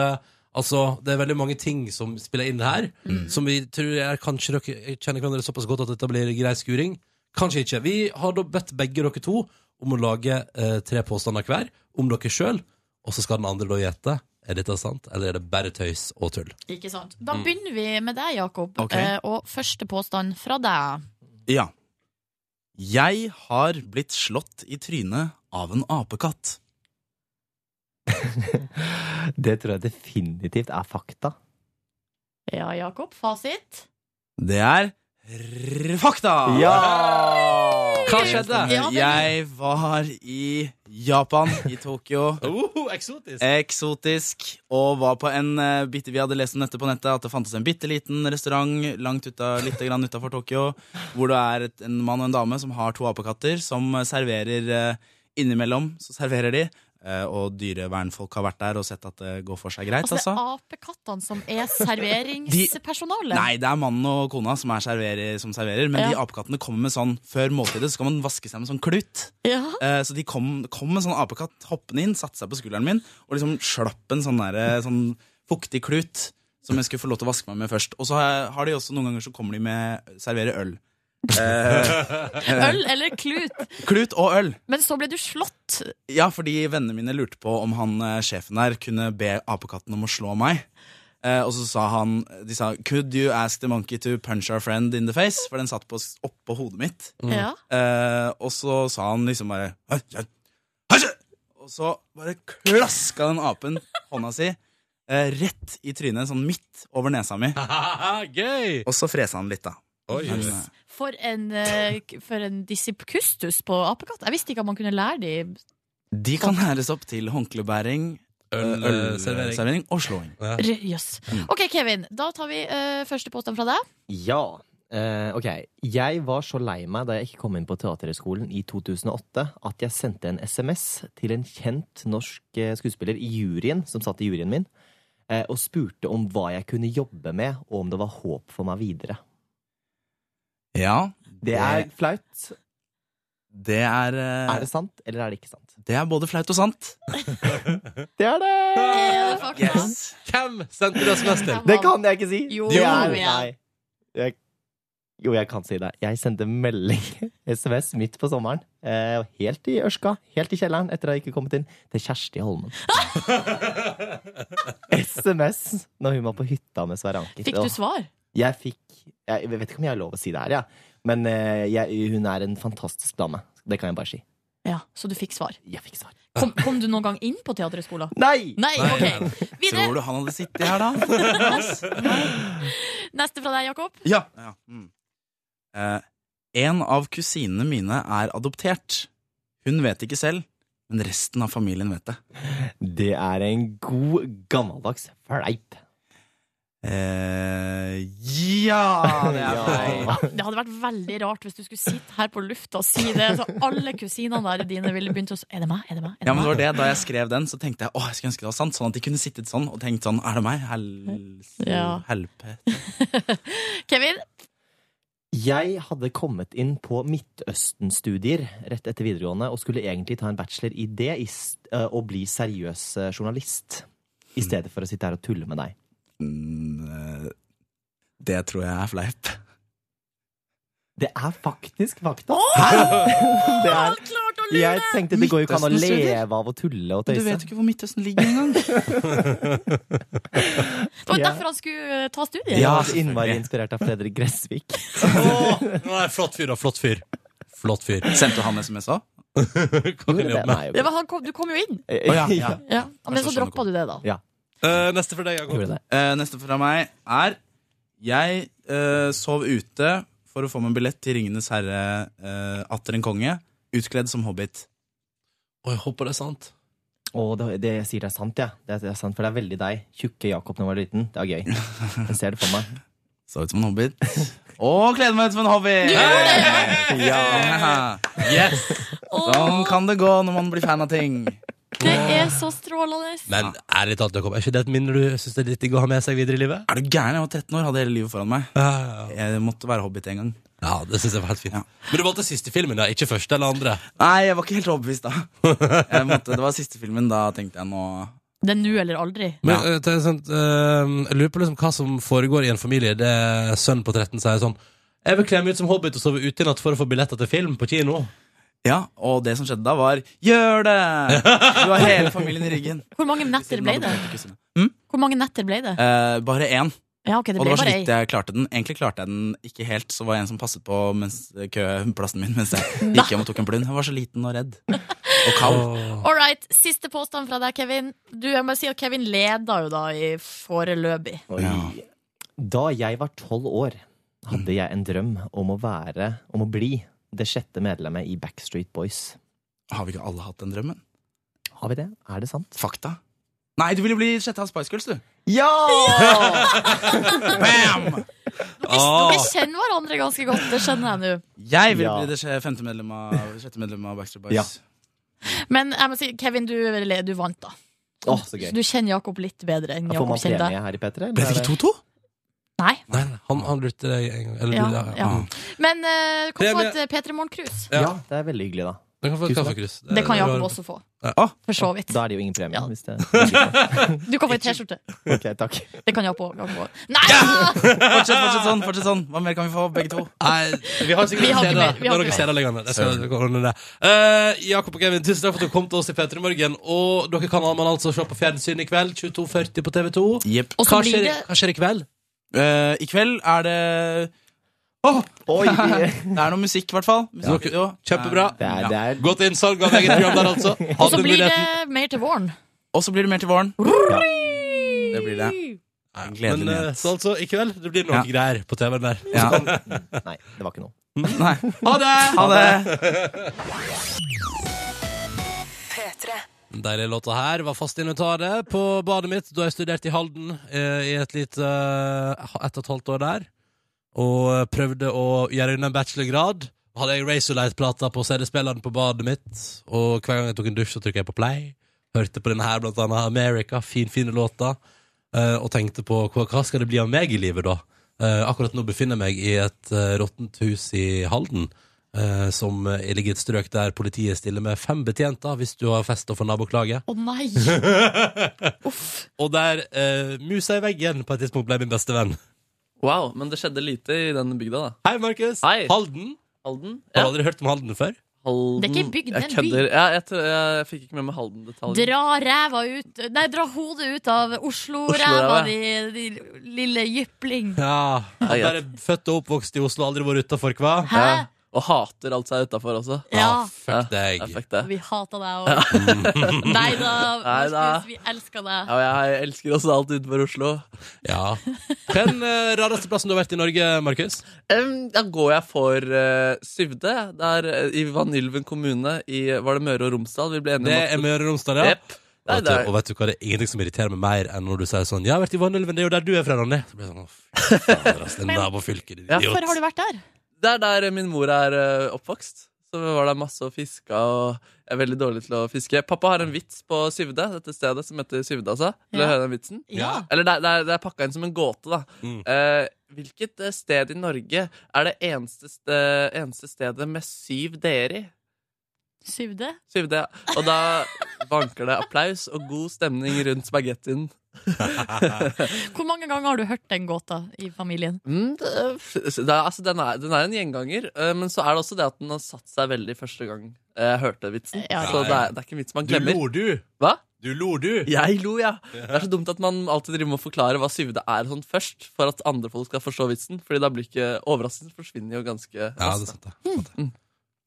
Altså, Det er veldig mange ting som spiller inn her, som vi tror er kanskje dere kjenner hverandre såpass godt at dette blir grei skuring. Kanskje ikke. Vi har da bedt begge dere to om å lage eh, tre påstander hver om dere sjøl, og så skal den andre da gjette. Er dette sant, eller er det bare tøys og tull?
Ikke sant? Da
Mm.
begynner vi med deg, Jakob.
Ok.
Eh, og første påstand fra deg.
Ja. Jeg har blitt slått i trynet av en apekatt.
Det tror jeg definitivt er fakta.
Ja, Jakob. Fasit.
Det er r- fakta!
Ja!
Hva skjedde?
Ja, men-
Jeg var i Japan, i Tokyo.
Oh, eksotisk!
Eksotisk. Og var på en eh, bitte Vi hadde lest om dette på nettet, at det fantes en bitte liten restaurant langt uta, litt grann utafor Tokyo, hvor det er et, en mann og en dame som har to apekatter, som eh, serverer eh, Innimellom så serverer de, eh, og dyrevernfolk har vært der og sett at det går for seg greit.
Altså, det
Altså,
er apekattene som
<laughs>
er serveringspersonalet.
Nei, det er mannen og kona som, er serverer, som serverer, men
Ja.
de apekattene kommer med sånn før måltidet, så kan man vaske seg med sånn klut.
Ja.
Eh, så de kom, kom en sånn apekatt hoppende inn, satte seg på skulderen min og liksom slapp en sånn, der, sånn fuktig klut som jeg skulle få lov til å vaske meg med først. Og så har jeg- har de også noen ganger så kommer de med serverer øl. Eh, eh,
Øl eller klut.
Klut og øl.
Men så ble du slått.
Ja, fordi vennene mine lurte på om han eh, sjefen der kunne be apekatten om å slå meg. Eh, og så sa han De sa 'Could you ask the monkey to punch our friend in the face?' For den satt på, s- oppå hodet mitt.
Ja.
Eh, og så sa han liksom bare «Hei, hei, hei, hei!» Og så bare klaska den apen hånda si eh, rett i trynet, sånn midt over nesa mi.
Gøy!
Og så fresa han litt, da.
Oi.
Men, eh,
For en, eh, k- for en disipp- kustus på apekatt. Jeg visste ikke at man kunne lære de
de kan hæres opp til håndklebæring, eh,
Ølservering.
ølservering og slåing.
Ja.
Jøss.
Mm.
OK, Kevin. Da tar vi eh, første påstand fra deg.
Ja. Eh, ok. Jeg var så lei meg da jeg ikke kom inn på Teaterhøgskolen i 2008, at jeg sendte en SMS til en kjent norsk eh, skuespiller i juryen, som satt i juryen min, eh, og spurte om hva jeg kunne jobbe med, og om det var håp for meg videre.
Ja,
Det er flaut.
det er, eh,
Er det sant, eller er det ikke sant?
det er både flaut og sant.
<laughs> Det er det!
Eh, fakta.
Hvem sendte det SMS til?
Det kan jeg ikke si!
Jo,
det er,
kom igjen.
nei. <laughs> Jeg, jo, jeg kan si det. Jeg sendte melding, SMS, midt på sommeren eh, og helt i ørska, helt i kjelleren, etter at jeg ikke kommet inn, til Kjersti
<laughs>
Holmen. SMS når hun var på hytta med Sverre Anker.
Fikk du svar?
Jeg fikk Jeg vet ikke om jeg har lov å si det her, ja. men eh, jeg, hun er en fantastisk dame. Det kan jeg bare si.
Ja, Så du fikk
<laughs>
svar?
Jeg fikk svar.
Kom, kom du noen gang inn på Teaterhøgskolen?
Nei!
Nei, ok. Videre.
<laughs>
Tror du han hadde sittet her, da? <laughs>
Neste fra deg, Jakob.
ja. ja. Mm. Eh, en av kusinene mine er adoptert. Hun vet ikke selv, men resten av familien vet det.
Det er en god, gammeldags fleip.
Eh, ja, det er feil.
Ja, det hadde vært veldig rart hvis du skulle sitte her på lufta og si det. Så alle kusinene der dine ville begynt å s- Er det meg? Er det meg? Er
Ja, men det var
meg?
det. Da jeg skrev den, så tenkte jeg åh, jeg skulle ønske det var sant, sånn at de kunne sittet sånn og tenkt sånn Er det meg? Helse...
Ja.
Helpe.
Kevin?
Jeg hadde kommet inn på Midtøsten-studier rett etter videregående og skulle egentlig ta en bachelor i det i s- eh, og bli seriøs eh, journalist. I stedet for å sitte her og tulle med deg.
Mm, eh, Det tror jeg er fleip.
Det er faktisk fakta!
Åh,
<laughs> Det
han
er,
klarte å lure!
jeg tenkte det går jo ikke an å
Midtøsten-studier?
leve av å tulle og
Du vet
tøyse.
jo ikke hvor Midtøsten ligger engang.
Det var jo
Ja.
derfor han skulle eh, ta studiet.
Jeg
Ja,
var så innmari inspirert av Fredrik Gressvik.
<laughs>
Nei, flott fyr, da. Flott fyr. Flott fyr.
Sendte han SMS òg?
Hva kan jeg jobbe med?
Det var han kom, du kom jo inn.
Å,
<laughs>
ja, ja.
Ja. Men
Jeg
så
skjønner
droppa du det, da.
Eh, neste for deg, Jakob.
Gjorde det.
Eh, neste fra meg er Jeg eh, sov ute for å få meg en billett til Ringenes herre eh, atter en konge, utkledd som hobbit.
Oi, jeg håper det er sant.
Å, det, det jeg sier det er sant, ja. Det er, det er sant, for det er veldig deg. Tjukke Jakob da jeg var liten. Det er gøy. Jeg ser det for meg.
Så ut som en hobbit. Og kledde meg ut som en hobbit! Ja.
Yes!
Sånn kan det gå når man blir fan av ting.
Det er så strålende.
<laughs> Men ærlig talt, Jakob, er ikke det et minne du syns det er litt digg å ha med seg videre i livet?
Er du gæren? Jeg var 13 år, hadde hele livet foran meg.
Ja, ja, ja.
Jeg måtte være hobbit en gang.
ja det syns jeg var helt fint. Men du valgte siste filmen, da, ikke første eller andre.
Nei, jeg var ikke helt overbevist da. Jeg måtte, det var siste filmen. Da tenkte jeg nå
Det er nå eller aldri.
Men eh, det er sånn, eh, jeg lurer på liksom hva som foregår i en familie. Det er Sønnen på 13 sier sånn Jeg vil kle meg ut som hobbit og sove ute i natt for å få billetter til film på kino.
Ja, Og det som skjedde da, var 'gjør det'! Du har hele familien i
<laughs>
ryggen.
Hvor mange netter ble det? Hvor mange netter ble det?
Eh, bare én,
Ja, ok, det
og det
ble
var så
bare
vidt
ei.
jeg klarte den. Egentlig klarte jeg den ikke helt, så var det en som passet på mens, kø, plassen min mens jeg
<laughs>
gikk hjem og tok en plund. Jeg var så liten og redd. Og kald.
All right, Siste påstand fra deg, Kevin. Du, jeg må si at Kevin leder jo da i foreløpig.
Oi. Da jeg var tolv år, hadde jeg en drøm om å være, om å bli, det sjette medlemmet i Backstreet Boys.
Har vi ikke alle hatt den drømmen?
Har vi det? Er det sant?
Fakta. Nei, du ville bli sjette av Spice Girls, du.
Ja!
Bam!
Ah,
Dere kjenner hverandre ganske godt, det skjønner jeg nå.
Jeg ville
Ja.
bli det sj- femte medlem av, sjette medlem av Backstreet Boys.
<laughs> Ja.
Men jeg må si, Kevin, du, du vant, da.
Å, så gøy.
Så du kjenner Jakob litt bedre enn
Da får
Jakob
man
kjenner deg.
premie her i P3.
Ble det
eller?
ikke 2-2?
Nei.
nei, nei, han, han lurte deg en gang. Eller,
Ja,
du, ja.
ja.
Mm.
Men eh, du kan få
Premie.
et eh, P3 Morgen-krus.
Ja.
Ja, det er veldig hyggelig, da.
Du kan få Eh, et
Tusen
kaffekrus.
Det kan Jakob også få.
Å,
For så vidt.
Ah. Da er det jo ingen premie.
Ja.
Hvis det...
Du kan få ei T-skjorte.
Ok, takk.
Det kan Jakob òg. Nei!
fortsett, fortsett sånn, fortsett sånn. Hva mer kan vi få, begge to?
Nei, vi har
Vi
sikkert
har
CD-er.
ikke mer, vi
Vi
har
har
ikke
noen
mer.
CD-er liggende. Det skal vi ordne det. Eh, Jakob og Kevin, tusen takk for at dere kom til oss i P3 Morgen. Og dere kan man altså se på fjernsyn i kveld, 22.40 på TV2.
Jepp.
Og så
Hva
blir
skjer,
det
hva skjer i kveld?
Eh, I kveld er det
<laughs> Oi, det er,
Det er noe musikk, i hvert fall. Musikk- jo.
Kjempebra.
det er, det
Ja.
er...
Godt innsalg av eget program der,
<laughs>
altså.
<laughs>
Og så
Hadde
blir
muligheten.
det mer til våren.
<laughs>
Og så blir det mer til våren.
Det
blir det. Gledelig
Men, eh,
nyhet.
så altså, i kveld det blir noe
Ja.
greier på TV-en der.
Ja.
Nei, det var ikke noe.
<laughs> Nei.
Ha det!
Ha det!
P3.
Den deilige låta her var fast inventaret på badet mitt da jeg studerte i Halden eh, i et lite eh, ett og et halvt år der. Og eh, prøvde å gjøre unna en bachelorgrad. Hadde jeg Razorlight-plata på CD-spilleren på badet mitt, og hver gang jeg tok en dusj, så trykket jeg på play. Hørte på denne her, blant annet America, finfine låter. eh, og tenkte på hva, hva skal det bli av meg i livet, da? Eh, akkurat nå befinner jeg meg i et eh, råttent hus i Halden. eh, som eh, ligger i et strøk der politiet stiller med fem betjenter hvis du har fest og får naboklage.
Å nei! Uff.
Og der eh, musa i veggen på et tidspunkt ble min beste venn.
Wow, men det skjedde lite i den bygda, da.
Hei, Markus.
Hei.
Halden.
Halden?
Har
Ja.
du aldri hørt om Halden før?
Halden
Det er ikke en bygd, det er
Jeg
en by.
kødder. Ja, jeg, tror- jeg, jeg fikk ikke med meg Halden-detaljer.
Dra ræva ut Nei, dra hodet ut av Oslo-ræva,
Oslo-ræva,
de, de lille jypling.
Ja. Bare født og oppvokst i Oslo, aldri vært utafor, hva?
Hæ?
Og hater alt seg utafor også.
Ja. Ah,
fuck deg.
Ja, fuck
Ah,
det.
Vi hata deg òg. <laughs> Nei da,
<laughs>
Nei da.
Markus, vi elsker
Ja,
deg.
og jeg elsker også alt utenfor Oslo.
Ja. Hva er den eh, rareste plassen du har vært i Norge, Markus?
Em, da går jeg for eh, Syvde. Det er eh, i Vanylven kommune i Var det Møre og Romsdal? Vi ble enige
Det
om at-
er Møre og Romsdal, ja.
Jepp.
Og
Nei,
vet,
det
du,
er-
og vet du hva, det er ingenting som irriterer meg mer enn når du sier sånn 'Jeg har vært i Vanylven, det er jo der du er fra, Ronny'. Så blir jeg sånn, å, fy <laughs> fader, ass, den
Men-
nabofylken, din
Hvorfor har du vært der?
Det er der min mor er eh, oppvokst. Så vi var der masse og fiska, og jeg er veldig dårlig til å fiske. Pappa har en vits på Syvde, dette stedet som heter Syvde, altså. Vil du
Ja.
høre den vitsen?
Ja.
Eller det, er- det, er- det er pakka inn som en gåte, da.
Mm.
Eh, hvilket eh, sted i Norge er det eneste, ste- eneste stedet med syv d-er i?
Syvde?
Syvde, ja. Og da vanker det applaus og god stemning rundt spagettien.
Hvor mange ganger har du hørt den gåta i familien?
Mm, det, det, er- altså, den, er, den er en gjenganger, eh, men så er det også det at den har satt seg veldig første gang eh, jeg hørte vitsen.
Ja.
Så det er, det er ikke en vits man
Du
glemmer.
lo, du.
Hva?
Du lo, du.
Jeg lo, ja. Det er så dumt at man alltid driver med å forklare hva syvde er sånn først, for at andre folk skal forstå vitsen. Fordi da blir ikke overraskelsen forsvinner jo ganske
det er sant,
Mm. Mm.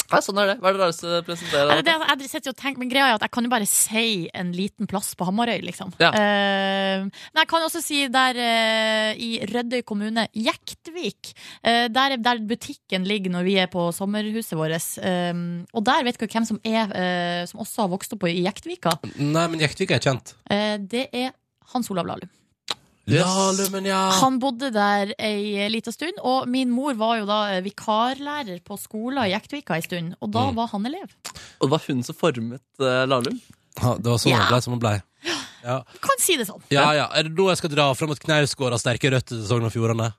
Ja, sånn er det. Hva er det rareste presentere?
Nei, det, er- jeg sitter jo og tenker, men greia er at jeg kan jo bare si en liten plass på Hamarøy, liksom.
Ja.
Eh, men jeg kan også si der eh, i Rødøy kommune, Jektvik, eh, der, der butikken ligger når vi er på sommerhuset vårt. eh, og der vet dere hvem som er eh, Som også har vokst opp i Jektvika.
Nei, men Jektvik er kjent.
Eh, det er Hans Olav Lahlum.
Lalumen, ja.
Han bodde der ei lita stund, og min mor var jo da eh, vikarlærer på skolen i Jektvika ei stund, og da
Mm.
var han elev.
Og det var hun som formet eh, Lahlum?
Ha, det var sånn han
Ja.
blei som han blei. Ja.
Kan si det sånn.
ja, ja. Er det nå jeg skal dra fram at Knausgård har sterke røtter til Sogn og Fjordane?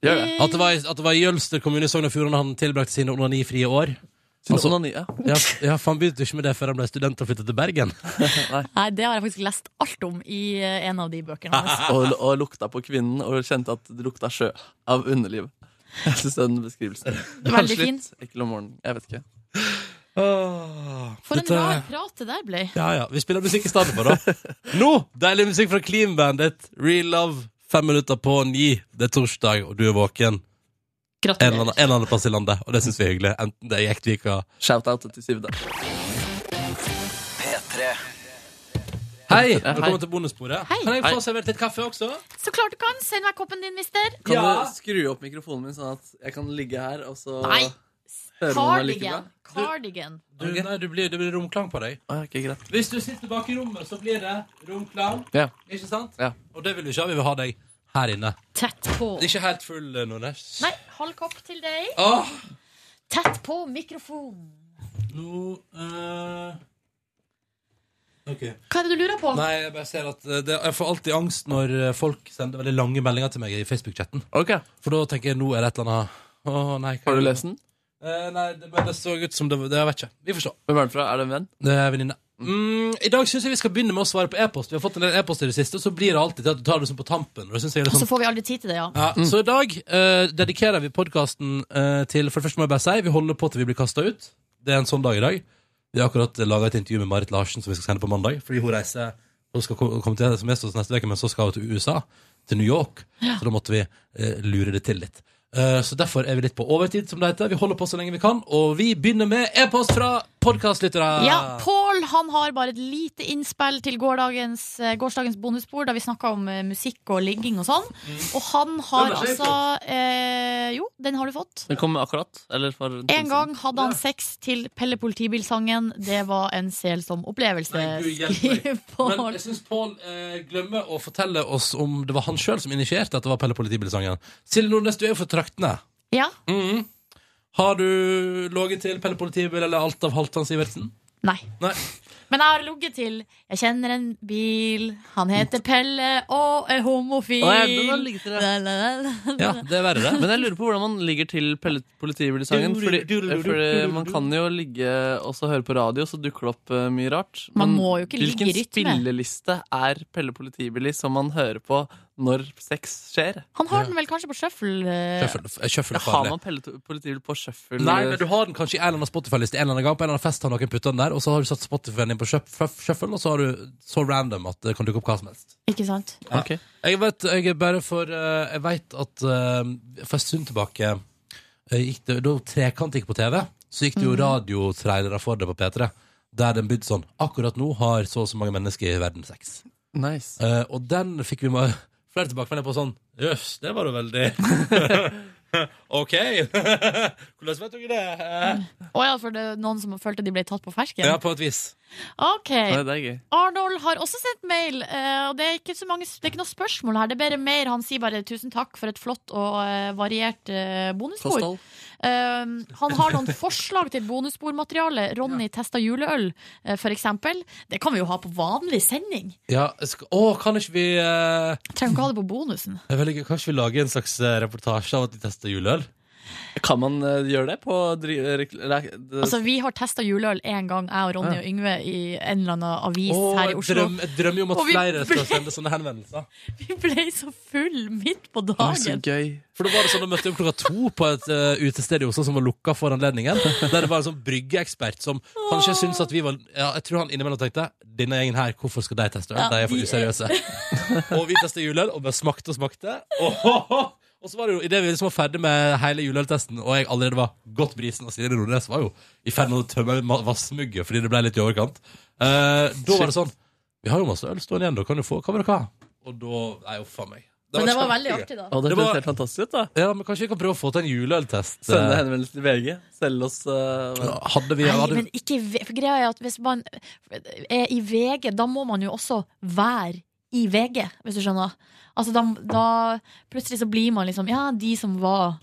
Gjør
Eh,
det.
Mm.
At det var, i- at det var i Jølster kommune i Sogn og Fjordane han tilbrakte sine onanifrie år?
Sine onani, ja.
ja, f- ja, for han begynte jo ikke med det før han ble student og flyttet til Bergen.
Nei, det har jeg faktisk lest alt om i eh, en av de
<laughs>
bøkene hans.
og, og lukta på kvinnen og kjente at det lukta sjø av underlivet. <laughs> Jeg synes den beskrivelsen
<laughs> Veldig
Kanskje
fin.
litt Ekkel om morgenen. Jeg vet ikke.
For en
Dette-
rar prat det der ble.
Ja, ja. Vi spiller musikk i stedet for, da. Nå! Deilig musikk fra Clean Bandit. Real Love. Fem minutter på ni. Det er torsdag, og du er våken.
Gratulerer.
En eller annen, en eller annen plass i landet, og det syns vi er hyggelig. Enten det er Jektvika
Shout-out til Sivda.
P3. Hei!
Hei.
Velkommen til bonussporet. Kan jeg få servert litt kaffe også?
Så klart du kan! Send meg koppen din, mister.
Kan du skru opp mikrofonen min, sånn at jeg kan ligge her, og så
Nei.
hører man allikevel?
Cardigan. Cardigan.
Du, nei, du blir, det blir romklang på deg.
Ah, ok, greit.
Hvis du sitter bak i rommet, så blir det romklang.
Ja.
Ikke sant?
Ja.
Og det vil vi ikke ha. Vi vil ha deg her inne.
Tett på.
Ikke helt full, eh, Nordnes.
Nei, halv kopp til deg.
Åh!
Tett på mikrofonen.
Nå eh, OK.
Hva er det du lurer på?
Nei, jeg bare ser at eh, det, jeg får alltid angst når eh, folk sender veldig lange meldinger til meg i Facebook-chatten. For da tenker jeg nå er det et eller annet Å nei. hva
Har du
er det?
lest den?
Eh, nei, det, men det så ut som det, det Jeg vet ikke. Vi får se.
Hvem er den fra? Er det en venn?
Det er venninne. Mm, I dag syns jeg vi skal begynne med å svare på e-post. Vi har fått en del e-post i det siste, og så blir det alltid til at du tar det sånn på tampen. Og det synes jeg er litt
Og så
sånn
får vi aldri tid til det, ja.
ja, Så i dag eh, dedikerer vi podkasten til For det første må jeg bare si vi holder på til vi blir kasta ut. Det er en sånn dag i dag. Vi har akkurat laga et intervju med Marit Larsen som vi skal sende på mandag. Fordi hun reiser Hun skal ko- komme til som gjest hos oss neste uke, men så skal hun til USA. Til New York. Så da måtte vi eh, lure det til litt. Eh, så derfor er vi litt på overtid, som det heter. Vi holder på så lenge vi kan, og vi begynner med e-post fra podkastlyttere.
Ja, Pål han har bare et lite innspill til gårsdagens, eh, gårsdagens bonusbord, da vi snakka om eh, musikk og ligging og sånn.
Mm.
Og han har
Den har jeg
altså eh, Jo, den har du fått.
Den kom akkurat? Eller for en
En
stund
gang
siden?
hadde han sex til Pelle Politibil-sangen. Det var en selsom opplevelse.
Gud hjelpe meg. Men jeg syns Pål eh, glemmer å fortelle oss om det var han sjøl som initierte at det var Pelle Politibil-sangen. Silje Nordnes, du er jo fra traktene.
Ja.
Mhm. Har du ligget til Pelle Politibil eller alt av Halvdan Sivertsen?
Nei.
Nei.
Men jeg har ligget til Jeg kjenner en bil, han heter Pelle og er homofil.
Å, ja, den har ligget til, ja.
La, la, la, la.
det er verre, det. <laughs>
Men jeg lurer på hvordan man ligger til Pelle- politibil-sangen. Fordi, fordi man kan jo ligge og så høre på radio, så dukker det opp eh, mye rart.
Man
Men
må jo ikke ligge i rytme.
Hvilken spilleliste er Pelle politibil i som man hører på når sex skjer.
Han har den vel kanskje på shuffle? eh,
Jeg har man politibil på shuffle?
Nei, men du har den kanskje i en eller annen Spotify-liste en eller annen gang. På en eller annen fest har noen putta den der, og så har du satt Spotify-en din på shuff- shuff- shuffle, og så har du så random at det kan dukke opp hva som helst.
Ikke sant?
Ja. Jeg vet, jeg er bare for eh, Jeg vet at eh, for en stund tilbake eh, gikk det, Da Trekant gikk på TV, så gikk det jo
Mhm.
radiotrailere for det på P3, der den bydde sånn Akkurat nå har så og så mange mennesker i verden sex.
Nice.
Eh, og den fikk vi med <laughs> flere tilbakemeldinger på sånn Jøss, det var jo veldig <laughs> OK! <laughs> Hvordan vet dere det?
Å ja, for det er noen som følte de ble tatt på fersken?
Ja, på et vis.
Ok.
det er gøy.
Arnold har også sendt mail, eh, og det er ikke så mange Det er ikke noe spørsmål her. Det er bare mer. Han sier bare 'tusen takk for et flott og eh, variert eh, bonusbord'.
Kosthold.
Um, han har
<laughs>
noen forslag til bonusbordmateriale. Ronny testa juleøl, eh, for eksempel. Det kan vi jo ha på vanlig sending.
Ja, skal, å, kan ikke vi eh,
Trenger ikke ha det på bonusen.
det er veldig gøy. Kan ikke vi lage en slags eh, reportasje av at de tester juleøl?
Kan man eh, gjøre det på dri rekl- nei, det-
Altså, vi har testa juleøl én gang, jeg og Ronny
Ja.
og Yngve, i en eller annen avis
Å,
her i
jeg
Oslo.
drøm- jeg drømmer jo om at
Og vi
flere
ble-
skal sende sånne henvendelser.
<laughs> Vi ble så full midt på
Å, så
dagen.
gøy.
For da var det sånn, da møtte jeg opp klokka to på et eh, utested i Oslo som var lukka for anledningen. Der det var en sånn bryggeekspert som kanskje syntes at vi var ja, Jeg tror han innimellom tenkte denne gjengen her, hvorfor skal de teste øl?
Ja,
de er for
de er-
<laughs>
useriøse. og vi testet juleøl, og bare smakte og smakte. Og, <laughs> og så var det jo, idet vi liksom var ferdig med hele juleøltesten, og jeg allerede var godt brisen, og Silje Nordnes var jo i ferd med å tømme ma- vassmugget fordi det ble litt i overkant. Eh, da var det sånn Vi har jo masse øl stående igjen, da kan du få Hva vil dere ha? Og da Nei, uff a meg.
Men det var
kjempegøy.
veldig artig, da. Å, det
høres helt fantastisk ut, da.
Ja, men kanskje vi kan prøve å få til en juleøltest. Eh,
Sende henvendelse til VG. Selge oss eh,
Hadde vi
Nei,
hadde,
men ikke i V- for greia er at hvis man er i VG, da må man jo også være i VG, hvis du skjønner. Altså da, da plutselig så blir man liksom Ja, de som var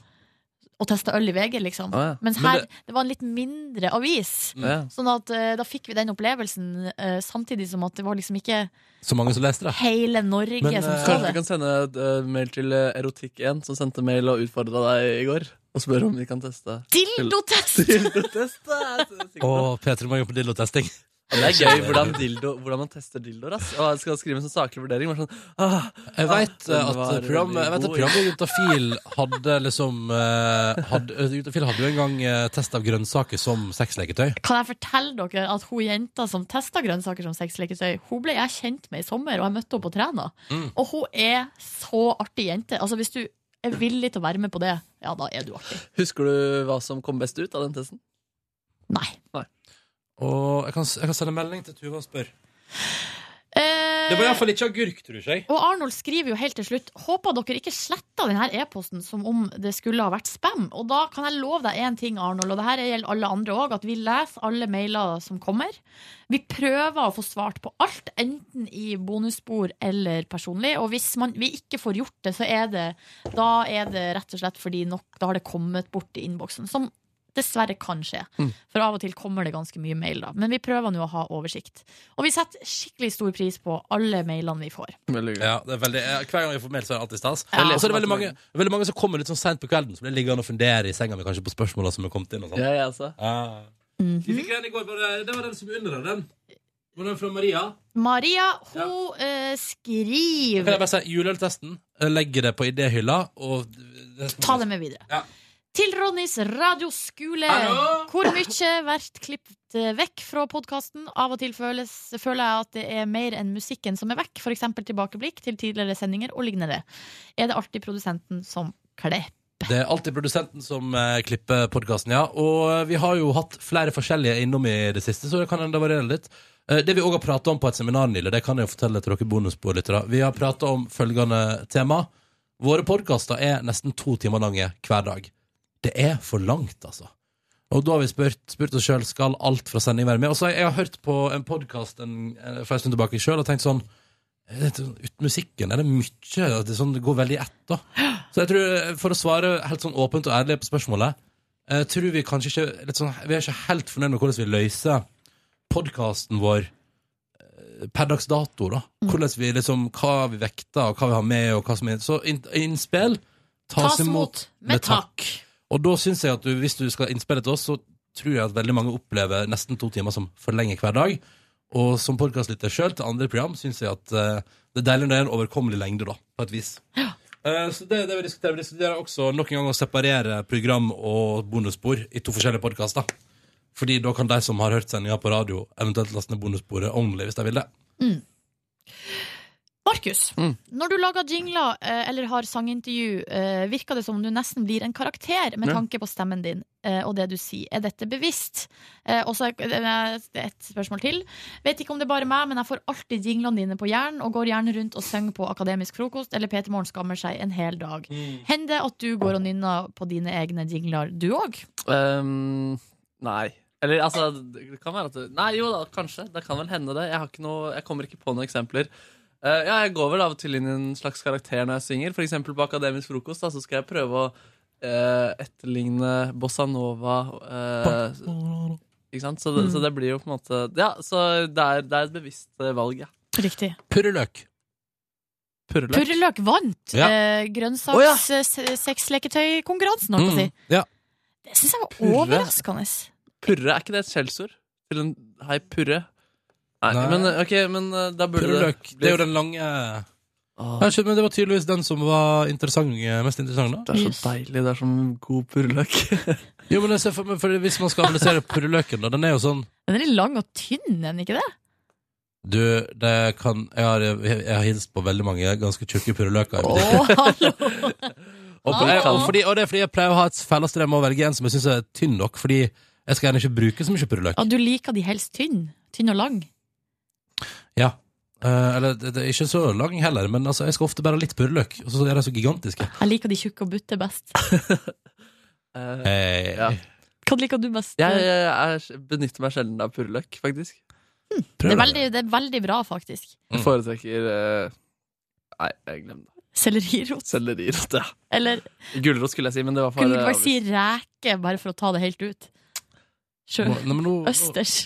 og testa øl i VG, liksom.
Ah, ja.
Mens
Men
her
det-
det... var en litt mindre avis.
Ja.
Sånn at eh, da fikk vi den opplevelsen, eh, samtidig som at det var liksom ikke
Så mange som leste det.
hele Norge som så
kanskje vi
det.
kan sende eh, mail til eh, Erotikk1, som sendte mail og utfordra deg i går, og spørre om vi kan teste.
Dildotest!
<laughs> Dildotest, det er
Å, Peter Mange på dillotesting.
Ja, Det er gøy hvordan, dildo, hvordan man tester dildoer. Ass. Og jeg skal skrive en sånn saklig vurdering. Bare sånn, ah,
Jeg
ah,
vet
den
eh, at
var
programmet,
veldig
jeg vet at
god.
programmet Juntafil hadde liksom eh, hadde, Juntafil hadde jo en gang eh, test av grønnsaker som sexleketøy.
Kan jeg fortelle dere at hun jenta som testa grønnsaker som sexleketøy, hun ble jeg kjent med i sommer, og jeg møtte henne på Træna.
Mm.
Og hun er så artig jente. Altså, hvis du er villig til å være med på det, ja, da er du artig.
Husker du hva som kom best ut av den testen?
Nei.
Og jeg kan, jeg kan sende melding til Tuva og spørre.
Eh,
Det var iallfall ikke agurk, tror jeg.
og Arnold skriver jo helt til slutt Håper dere ikke sletta denne e-posten som om det skulle ha vært spam. Og da kan jeg love deg én ting, Arnold, og det her gjelder alle andre òg, at vi leser alle mailer som kommer. Vi prøver å få svart på alt, enten i bonusspor eller personlig. Og hvis man, vi ikke får gjort det, så er det, da er det rett og slett fordi nok, da har det kommet bort i innboksen. Som dessverre kan skje.
Mm.
For av og til kommer det ganske mye mail, da. Men vi prøver nå å ha oversikt. Og vi setter skikkelig stor pris på alle mailene vi får.
Ja, det er veldig, eh, hver gang jeg får mail, så er det alltid stas.
Ja.
Og så er det veldig mange, veldig mange som kommer litt sånn seint på kvelden, så blir jeg liggende og fundere i senga mi kanskje på spørsmåla som er kommet inn. og sånn.
Ja, jeg også.
Ah.
Mhm.
Vi fikk en i går, bare, det var den som under den. Var den fra Maria?
Maria, hun eh,
Da Kan jeg
skriver
bare si juleøltesten? Jeg Legger det på idéhylla, og
Ta det med videre. Til Ronnys radioskole.
Hallo?
Hvor mye vært klippet eh, vekk fra podkasten? Av og til føles, føler jeg at det er mer enn musikken som er vekk. F.eks. tilbakeblikk til tidligere sendinger og lignende. Er det alltid produsenten som kler?
Det er alltid produsenten som eh, klipper podkasten, ja. Og eh, vi har jo hatt flere forskjellige innom i det siste, så det kan enda variere litt. Eh, Det vi òg har prata om på et seminar nylig, det kan jeg jo fortelle til dere bonusbordlyttere. Vi har prata om følgende tema. Våre podkaster er nesten to timer lange hver dag. Det er for langt, altså. Og da har vi spurt, spurt oss sjøl skal alt fra sending være med. Og så har jeg jeg har hørt på en podkast for en stund tilbake sjøl og tenkt sånn jeg vet ikke, Uten musikken er det mye det, er sånn, det går veldig i ett, da. Så jeg tror, eh, for å svare helt sånn åpent og ærlig på spørsmålet Jeg tror vi kanskje ikke litt sånn, Vi er ikke helt fornøyd med hvordan vi løser podkasten vår eh, per dags dato, da. Hvordan vi liksom, hva vi vekter, og hva vi har med, og hva som er Så inn- innspill tas,
Tas
imot
imot med
Og da syns jeg at du, hvis du skal innspille til oss, så tror jeg at veldig mange opplever nesten to timer som for lenge hver dag. Og som podkastlytter sjøl til andre program syns jeg at eh, det er deilig når det er en overkommelig lengde, da, på et vis. Eh, så det, er det vi diskuterer. Vi diskuterer også nok en gang å separere program og bonusspor i to forskjellige podkaster. Fordi da kan de som har hørt sendinga på radio, eventuelt laste ned bonussporet only hvis de vil det.
Mm. Markus,
Mm.
når du lager jingler eh, eller har sangintervju, eh, virker det som om du nesten blir en karakter med
Ja.
tanke på stemmen din eh, og det du sier. Er dette bevisst? Eh, Og så er det er et spørsmål til. Vet ikke om det er bare meg, men jeg får alltid jinglene dine på hjernen og går gjerne rundt og synger på Akademisk frokost eller Peter Morgen skammer seg en hel dag.
Mm.
Hender det at du går og nynner på dine egne jingler, du òg?
Ehm, nei. Eller altså, det kan være at det, Nei, jo da, kanskje. Det kan vel hende det. Jeg, har ikke noe, jeg kommer ikke på noen eksempler. Eh, ja, jeg går vel av og til inn i en slags karakter når jeg synger. For eksempel på Akademisk frokost da, så skal jeg prøve å eh, etterligne bossa nova. eh, ikke sant? Så det, så det blir jo på en måte Ja, så det er, det er et bevisst eh, valg, ja.
Riktig.
Purreløk.
Purreløk.
Purreløk vant
Ja. Mm,
eh,
Å, ja.
grønnsaks-seksleketøy-konkurransen, holdt på å si.
Ja.
Det syns jeg var
Purre.
overraskende.
Purre, er ikke det et skjellsord? Til en Hei, purre. Nei,
Nei.
men eh, ok, men eh, da burde
Purreløk.
det
Det er jo den lange Ja, skjønner, men Det var tydeligvis den som var interessant, mest interessant. da
Det er så deilig. Det er som god purreløk.
Jo, men jeg ser for, meg- for Hvis man skal analysere purreløken, da, den er jo sånn
Den er litt lang og tynn, er den ikke det?
Du, det kan Jeg har, jeg har hilst på veldig mange ganske tjukke purreløker. i mitt liv. <laughs> og, på- jeg, og, fordi, og det er fordi jeg pleier å ha et fæle strev med å velge en som jeg syns er tynn nok, fordi jeg skal gjerne ikke bruke så mye purreløk.
Ja, du liker de helst tynn. Tynn og lang.
Ja. Eh, eller det, det er ikke så lang heller, men altså, jeg skal ofte bare ha litt purreløk, og så er de så gigantiske.
Jeg liker de tjukke og butte best.
Hei.
Hva liker du best?
Jeg, jeg, jeg benytter meg sjelden av purreløk, faktisk.
det, er veldig, det er veldig bra, faktisk.
Jeg foretrekker eh, Nei, jeg glem det.
Sellerirot.
Sellerirot, ja.
Eller
Gulrot skulle jeg si, men det var for eh,
kunne du ikke bare si reke, bare for å ta det helt ut? Sjø.
Nei, men nå- nå-
Østers.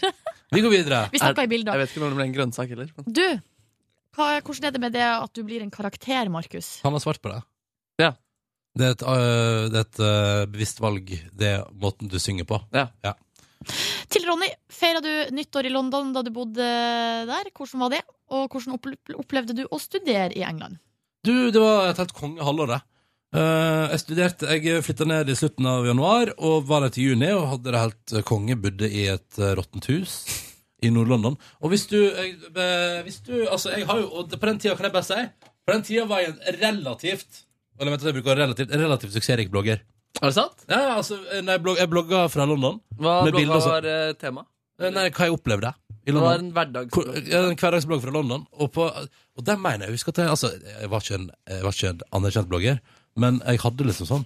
Vi går videre.
Vi snakker i bilder.
Jeg vet ikke når det ble en grønnsak heller. Men.
Du, hva, hvordan er det med det at du blir en karakter, Markus?
Han har svart på det.
Ja.
Det er et, øh, det er et øh, bevisst valg, det er måten du synger på.
Ja.
Til Ronny, feira du nyttår i London da du bodde der? Hvordan var det? Og hvordan opple- opplevde du å studere i England?
Du, det var et helt kongehalvår, det. Eh, jeg studerte, jeg flytta ned i slutten av januar og var der til juni og hadde det helt eh, konge. Bodde i et eh, råttent hus i Nord-London. Og hvis du, jeg, eh, hvis du Altså, jeg har jo Og på den tida kan jeg bare si På den tida var jeg en relativt Eller vent, jeg bruker relativt, relativt suksessrik blogger.
Er det sant?
Ja, ja, altså, eh, når jeg, blog, jeg blogga fra London.
Hva,
med
hva
bilder og sånn.
var uh, temaet?
Eh, Nei, hva jeg opplevde i
Det var
London.
en hverdags...
Hvor- ja, En hverdagsblogg fra London. Og, på, og der mener jeg, husk at jeg, altså, jeg, var ikke en, jeg var ikke en anerkjent blogger, men jeg hadde liksom sånn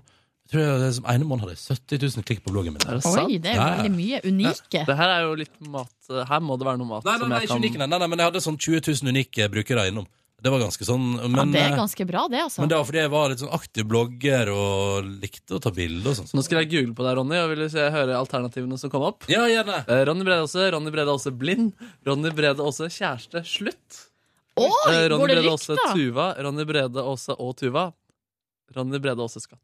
jeg tror jeg, Som ene måned hadde jeg 70 000 klikk på bloggen min.
Oi, det er
Ja, ja.
veldig mye. Unike.
Det her er jo litt mat eh, Her må det være noe mat
Nei, nei, nei, ikke unike, nei, nei, nei, men jeg hadde sånn 20 000 unike brukere innom. Det var ganske sånn. Men,
ja, det er
eh,
ganske bra, det, altså.
men det var fordi jeg var litt sånn aktiv blogger og likte å ta bilder og sånn.
Nå skal jeg google på deg, Ronny, og vil du se, høre alternativene som kom opp?
Ja, gjerne
Eh, Ronny Brede Aase, Ronny Brede Aase blind. Ronny Brede Aase kjæreste. Slutt.
Oi,
Eh, Ronny
går
Brede
det likt,
Aase
da?
Tuva. Ronny Brede Aase og Tuva. Ronny Brede Aase Skatt.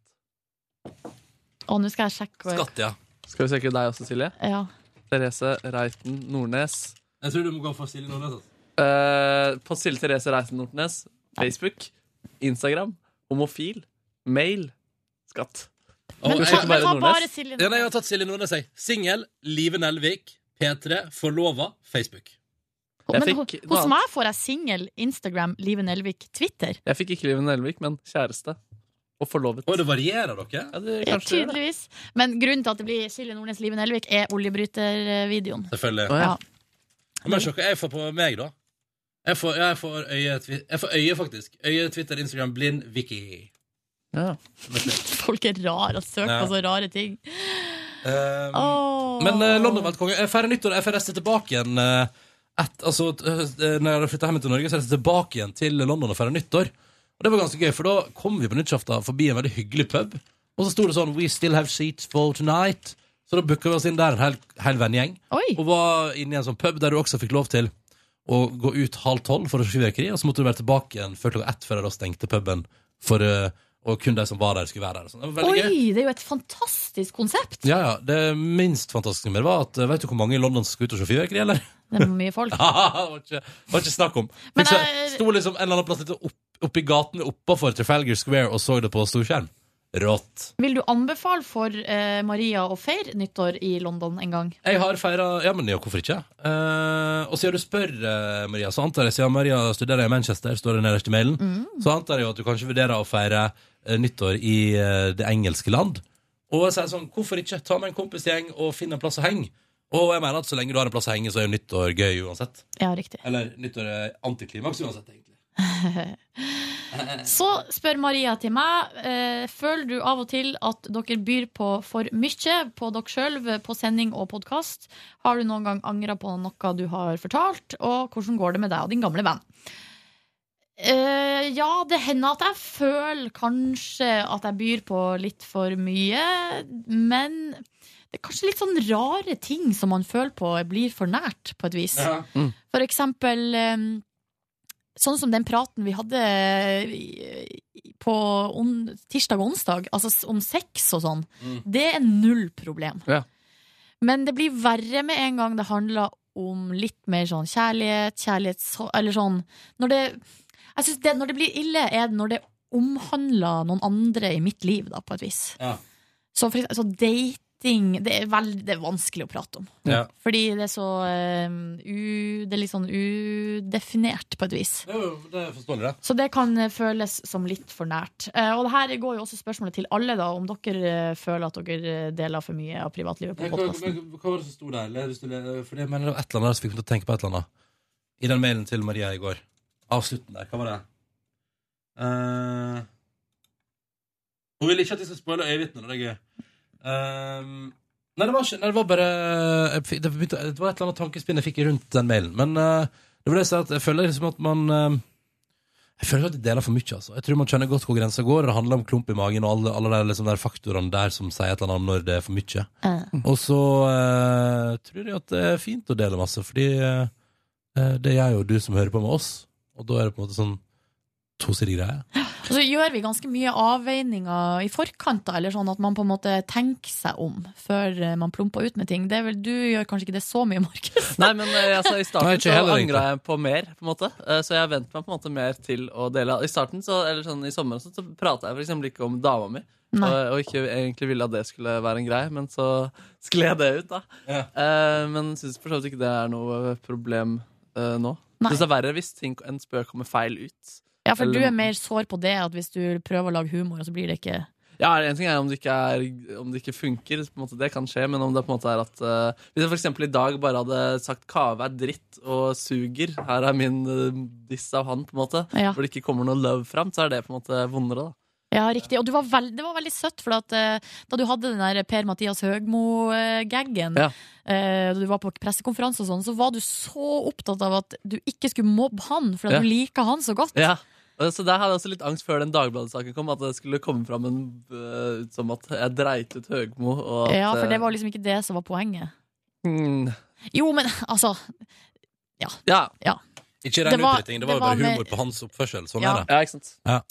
Å, nå skal jeg sjekke.
ja.
Skal vi sjekke deg også, Silje?
Ja.
Therese Reiten Nordnes.
Jeg tror du må gå for Silje Nordnes. altså.
Eh, på Silje Therese Reiten Nordnes. Facebook. Instagram. Homofil. Mail. Skatt.
Men
Skal vi
ta-
sjekke
men
bare
ta
Nordnes?
Bare Silje
Ja, nei, jeg har tatt Silje Nordnes, jeg. Singel, Live Nelvik, P3, Forlova, Facebook.
Men ho- hos meg får jeg singel, Instagram, Live Nelvik, Twitter.
Jeg fikk ikke Liven Elvik, men kjæreste. Og forlovet.
Og det varierer dere?
Ja, det
Ja,
kanskje gjør det.
tydeligvis. Men grunnen til at det blir Silje Nordnes, Live Nelvik, er oljebrytervideoen.
Selvfølgelig.
Å, ja.
Men sjokka jeg får på meg, da. Jeg får, jeg får, øye, twi- jeg får øye, faktisk. Øye, Twitter, Instagram, blind, Vicky.
<laughs> Folk er rare og søker
Ja.
på så rare ting.
Um,
Ehm, Åh.
Men eh, London var et konge. Jeg feirer nyttår. Jeg får reise tilbake igjen eh, et, altså, t- eh, Når jeg hadde flytta hjem til Norge, så reiste jeg tilbake igjen til London og feira nyttår. Og det var ganske gøy, for da kom vi på nyttårsaften forbi en veldig hyggelig pub, og så sto det sånn We still have seats for tonight. Så da booka vi oss inn der, en hel, hel vennegjeng, og var inne i en sånn pub der du også fikk lov til å gå ut halv tolv for å se fyrverkeri, og så måtte du være tilbake igjen før klokka ett, før de da stengte puben, for, eh, og kun de som var der, skulle være der. og sånn. Det var veldig gøy.
Oi, det er jo et fantastisk konsept!
Ja, ja. Det minst fantastiske med det var at eh, Vet du hvor mange i London som skal ut og se fyrverkeri, eller? <laughs>
Det er mye folk.
det var ikke, det var ikke snakk om.
Men
Fikk
eh,
så,
jeg-
sto liksom en eller annen plass litt opp, oppi gaten oppafor Trafalgar Square og så det på storskjerm. Rått.
Vil du anbefale for eh, Maria å feire nyttår i London en gang?
Jeg har feira Ja, men ja, hvorfor ikke? Eh, og siden du spør, eh, Maria, så antar jeg siden Maria studerer i Manchester, står det nederst i mailen, så antar jeg jo at du kanskje vurderer å feire eh, nyttår i eh, det engelske land. Og jeg sier sånn, hvorfor ikke ta med en kompisgjeng og finne en plass å henge? Og jeg mener at så lenge du har en plass å henge, så er jo nyttår gøy uansett.
Ja, riktig.
Eller nyttår er antiklimaks uansett, egentlig.
Så spør Maria til meg eh, Føler du av og til at dere byr på for mye på dere selv, eh, på sending og podkast? Har du noen gang angra på noe du har fortalt? Og hvordan går det med deg og din gamle venn? Eh, ja, det hender at jeg føler kanskje at jeg byr på litt for mye. Men det er kanskje litt sånn rare ting som man føler på blir for nært, på et vis.
Ja. Mm.
For eksempel eh, Sånn som den praten vi hadde i- i- på on tirsdag og onsdag, altså s- om sex og sånn,
Mm.
det er null problem.
Ja.
Men det blir verre med en gang det handler om litt mer sånn kjærlighet, kjærlighet så, Eller sånn Når det Jeg synes det, når det blir ille, er det når det omhandler noen andre i mitt liv, da, på et vis.
Ja.
Så for eksempel, så dating det er, veld, det er vanskelig å prate om.
Ja.
Fordi det er så eh, u, Det er litt sånn udefinert, på et vis.
Det er forståelig, det.
Så det kan eh, føles som litt for nært. Eh, Og det her går jo også spørsmålet til alle, da, om dere eh, føler at dere eh, deler for mye av privatlivet
Hva
på
hva-
podkasten.
hva- hva var det som sto der? Le- hvis du le- For jeg mener det var et eller annet der som fikk meg til å tenke på et eller annet. I den mailen til Maria i går. Avslutten der. Hva var det? Eh, hun ville ikke at jeg skulle spoile øyevitnet. Det er gøy. Ehm, nei, det var ikke Nei, det var bare eh, jeg fikk- det, begynte, det var et eller annet tankespinn jeg fikk rundt den mailen. Men eh, det var det jeg sa, at jeg føler liksom at man eh, jeg føler at de deler for mye. altså. Jeg tror man skjønner godt hvor grensa går. og Det handler om klump i magen og alle, alle de liksom der faktorene der som sier et eller annet om når det er for mye. Og så eh, tror jeg at det er fint å dele masse, fordi eh, det gjør jo du som hører på med oss. Og da er det på en måte sånn tosidig greie.
Og så gjør vi ganske mye avveininger i forkant, da, eller sånn at man på en måte tenker seg om før eh, man plumper ut med ting. Det er vel, du gjør kanskje ikke det så mye, Markus?
Nei, men eh, altså, I
Nei,
starten
ikke
så
heller,
angra
egentlig.
jeg på mer, på en måte. Eh, så jeg vente meg på en måte mer til å dele. I starten, så, eller sånn i sommer, og sånt, så prata jeg for eksempel ikke om dama mi. Og,
Nei.
og ikke egentlig ville at det skulle være en greie, men så skled det ut, da. Eh, men syns for så vidt ikke det er noe problem eh, nå.
Nei.
Syns det er verre hvis ting, en spøk kommer feil ut.
Ja, for
Eller-
du er mer sår på det at hvis du prøver å lage humor, så blir det ikke
ja, en ting er om det ikke, er, om det ikke funker, på en måte, det kan skje, men om det på en måte er at eh, Hvis jeg for eksempel i dag bare hadde sagt 'Kave er dritt og suger', her er min eh, diss av han, på en måte,
Ja.
hvor det ikke kommer noe love fram, så er det på en måte vondere, da.
Ja, riktig. Og du var veld, det var veldig søtt, for at, eh, da du hadde den der Per-Mathias Høgmo-gaggen,
Ja.
eh, da du var på pressekonferanse og sånn, så var du så opptatt av at du ikke skulle mobbe han, for at
Ja.
du liker han så godt.
Ja. Og Eh, Så der hadde jeg også litt angst før den Dagbladet-saken kom, at det skulle komme fram en, eh, ut som at jeg dreit ut Høgmo. Og at,
Ja, for det
eh,
var liksom ikke det som var poenget.
hmm.
Jo, men <laughs> altså Ja.
Ja.
Ikke
Det
regn
var-
ut ting, det var
det
jo bare
var mer-
humor på hans oppførsel. Sånn
Ja.
er det.
Ja, ikke sant?
Ja.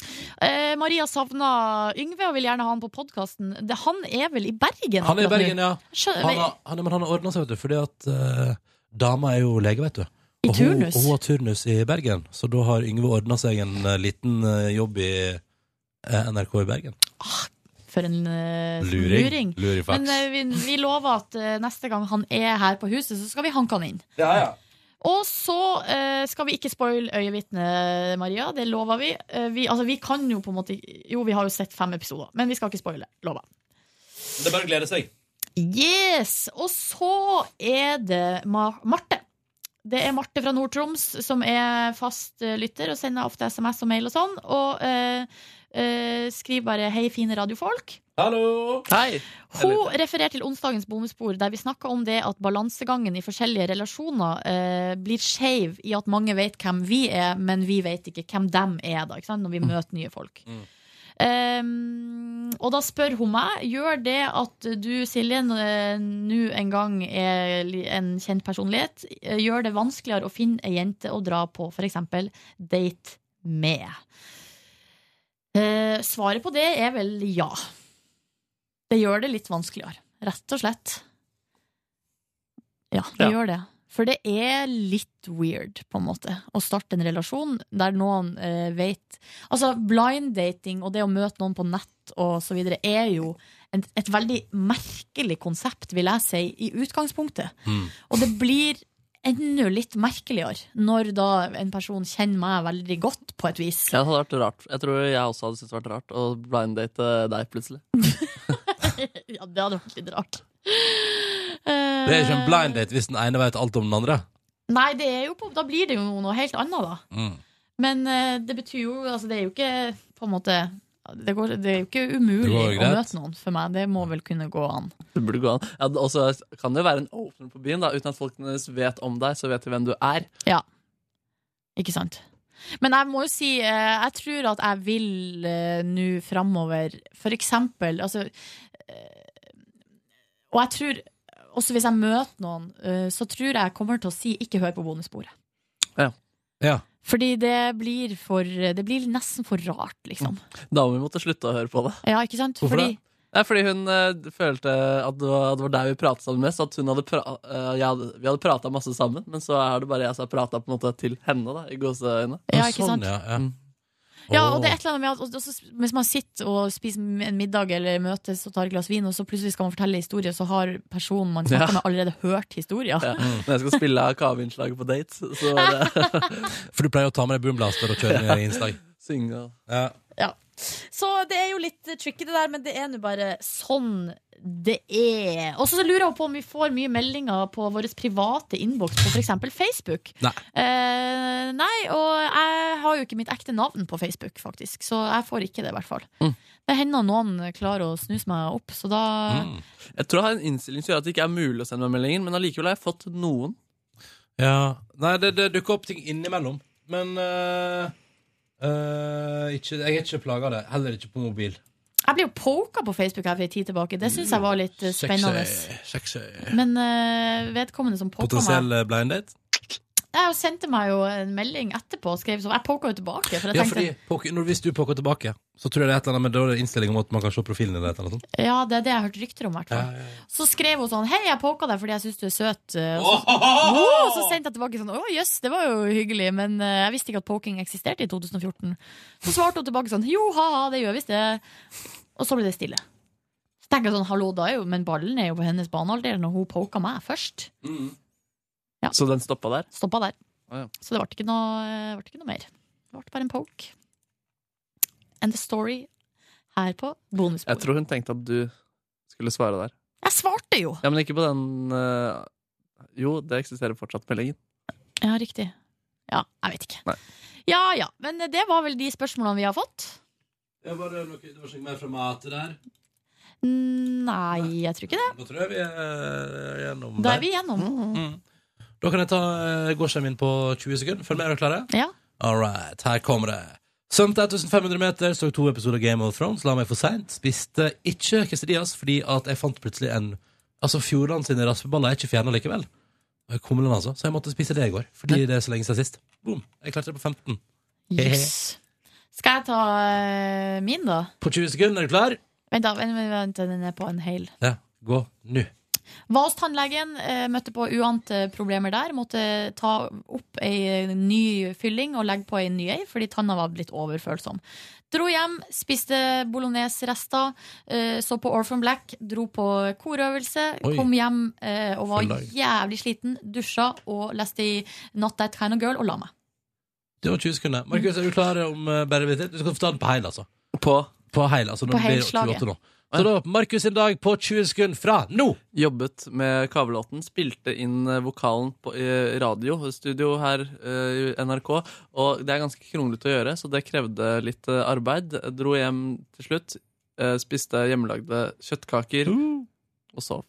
Eh, Maria savna Yngve og vil gjerne ha han på podkasten. Han er vel i Bergen?
Han er i
akkurat nå?
Bergen, ja.
Skjønner-
Han har, han, er- men han har ordna seg, vet du, fordi at eh, dama er jo lege, vet du. Og hun,
turnus?
og hun har turnus i Bergen, så da har Yngve ordna seg en eh, liten eh, jobb i eh, NRK i Bergen.
For en eh,
Luring.
luring.
Lurifaks.
Men eh, vi, vi lover at eh, neste gang han er her på huset, så skal vi hanke han inn.
Ja, ja.
Og så eh, skal vi ikke spoile Øyevitnet, Maria. Det lover vi. Eh, vi. Altså, vi kan jo på en måte Jo, vi har jo sett fem episoder, men vi skal ikke spoile. Lover.
Det er bare å glede seg.
Yes! Og så er det Ma Marte. Det er Marte fra Nord-Troms som er fast eh, lytter og sender ofte SMS og mail og sånn. Og eh, eh, skriver bare 'Hei, fine radiofolk'.
Hallo!
Hei!
Hun refererer til onsdagens bonusbord, der vi snakka om det at balansegangen i forskjellige relasjoner eh, blir skeiv i at mange vet hvem vi er, men vi vet ikke hvem dem er, da, ikke sant? når vi møter nye folk. Ehm, og da spør hun meg Gjør det at du, Silje, n- eh, nå en gang er li- en kjent personlighet, eh, gjør det vanskeligere å finne ei jente å dra på f.eks. date med? Eh, svaret på det er vel ja. Det gjør det litt vanskeligere, rett og slett. Ja,
Ja.
det gjør det. For det er litt weird, på en måte, å starte en relasjon der noen eh, vet Altså, blind dating og det å møte noen på nett og så videre er jo en, et veldig merkelig konsept, vil jeg si, i utgangspunktet.
Hmm.
Og det blir enda litt merkeligere når da en person kjenner meg veldig godt, på et vis.
Ja, det hadde vært rart. Jeg tror jeg også hadde syntes det vært rart å blinddate deg plutselig.
ja, det hadde vært litt rart.
Det er ikke en blind date hvis den ene vet alt om den andre.
Nei, det er jo på, da blir det jo noe helt annet, da. Men eh, det betyr jo altså, Det er jo ikke på en måte det, går, det er jo ikke
Det
umulig
går
å
greit.
møte noen for meg. Det må vel kunne gå an.
Det burde gå an. Ja, og så kan det jo være en opener på byen, da. Uten at folk nødvendigvis vet om deg, så vet de hvem du er.
Ja. Ikke sant? Men jeg må jo si, eh, jeg tror at jeg vil eh, nå framover, for eksempel altså, eh, Og jeg tror, også hvis jeg møter noen, eh, så tror jeg jeg kommer til å si ikke hør på bonussporet.
Ja.
Fordi det blir, for, det blir nesten for rart, liksom.
Damer måtte slutte å høre på det.
Ja, ikke sant? Fordi,
Nei, fordi hun eh, følte at det var, det var deg vi pratet sammen med. Så at hun hadde pra eh, jeg hadde, vi hadde prata masse sammen, men så er det bare jeg som har prata til henne. da, i gåseøyne.
Ja, ikke
sånn,
sant?
Mm.
Ja, og det er et eller annet med at og- og så- Hvis man sitter og spiser en middag eller møtes og tar et glass vin, og så plutselig skal man fortelle historier, så har personen man
Ja.
snakker med, allerede hørt historier.
Ja. Når jeg skal spille av kaveinnslaget på date, så var det
For du pleier å ta med deg boomblaster og
<laughs>
kjøre den i innslag.
Synge og
Ja.
Ja. Så det er jo litt eh, tricky, det der, men det er nå bare sånn det er. Og så lurer jeg på om vi får mye meldinger på vår private innboks på f.eks. Facebook.
Nei.
Eh, nei, og jeg har jo ikke mitt ekte navn på Facebook, faktisk, så jeg får ikke det, i hvert fall. Det hender noen klarer å snuse meg opp, så da
Jeg tror jeg har en innstilling som gjør at det ikke er mulig å sende meg meldinger, men allikevel har jeg fått noen.
Ja. Nei, det, det dukker opp ting innimellom. Men øh, øh, ikke, jeg er ikke plaga av det. Heller ikke på mobil.
Jeg ble jo poka på Facebook her for en tid tilbake. Det syns jeg var litt eh, spennende.
Sexy.
Men eh, vedkommende som poka meg
Potensiell eh, blind date?
Jeg sendte meg jo en melding etterpå og skrev sånn. Jeg poka jo tilbake. For jeg
Ja,
tenkte,
fordi poker, når, Hvis du poker tilbake, så tror jeg det er et eller annet Men da er det innstilling om at man kan se profilen din. eller et eller annet sånt.
ja, det er det jeg har hørt rykter om, i hvert fall.
Ja, ja,
Så skrev hun sånn Hei, jeg poka deg fordi jeg syns du er søt. eh, Og så,
Ohohoho!
Å, så sendte jeg tilbake sånn Å jøss, det var jo hyggelig, men eh, jeg visste ikke at poking eksisterte i 2014. Så svarte hun tilbake sånn Jo, ha-ha, det gjør visst det. Og så ble det stille. Så tenker jeg sånn, hallo, da er jo Men ballen er jo på hennes banehalvdel når hun poka meg først.
Så den stoppa der?
Stoppa der.
Å, ja.
Så det ble ikke noe, eh, ble ikke noe mer. Det ble bare en poke. And the story her på bonus.
Jeg tror hun tenkte at du skulle svare der.
Jeg svarte jo!
Ja, men ikke på den eh, Jo, det eksisterer fortsatt meldingen.
Ja, riktig. Ja, jeg vet ikke.
Nei.
Ja ja, men det var vel de spørsmålene vi har fått.
Ja, var det, noe, det var ikke mer fra matet der?
Nei, jeg tror ikke det.
Da tror jeg vi er eh, gjennom
Da
der.
er vi igjennom.
Da kan jeg ta eh, gårsdagen min på 20 sekunder. Følg med, er dere klare?
Ja.
All right, her kommer det. Svømte 1500 meter, så to episoder av Game of Thrones, la meg for seint. Spiste ikke quesadillas fordi at jeg fant plutselig en Altså, Fjordland sine raspeballer er ikke fjerna likevel. Eh, Kumlen, altså. Så jeg måtte spise det i går, fordi det er så lenge siden sist. Boom. Jeg klarte det på 15.
Yes. Skal jeg ta eh, min, da?
På 20 sekunder, er du klar?
Vent, da. Vent, vent, vent, den er på en hel.
Ja. Gå nå.
Var hos tannlegen, eh, møtte på uante problemer der. Måtte ta opp ei eh, ny fylling og legge på ei ny ei, fordi tanna var blitt overfølsom. Dro hjem, spiste bolognese-rester, eh, så på Orphan Black, dro på korøvelse.
Oi.
Kom hjem eh, og
Full
var
dag.
jævlig sliten, dusja og leste i Not That Kind of Girl og la meg.
Det var 20 sekunder. Markus, er du klar om eh, bare litt til? Du skal få ta den på heil, altså.
På?
heil, altså
På
når det blir
heilslaget.
28 nå. Så da, Markus sin dag på 20 sekunder fra nå!
Jobbet med kavelåten, spilte inn eh, vokalen på i radio, studio her eh, i NRK, og det er ganske kronglete å gjøre, så det krevde litt eh, arbeid. Dro hjem til slutt, eh, spiste hjemmelagde kjøttkaker og sov.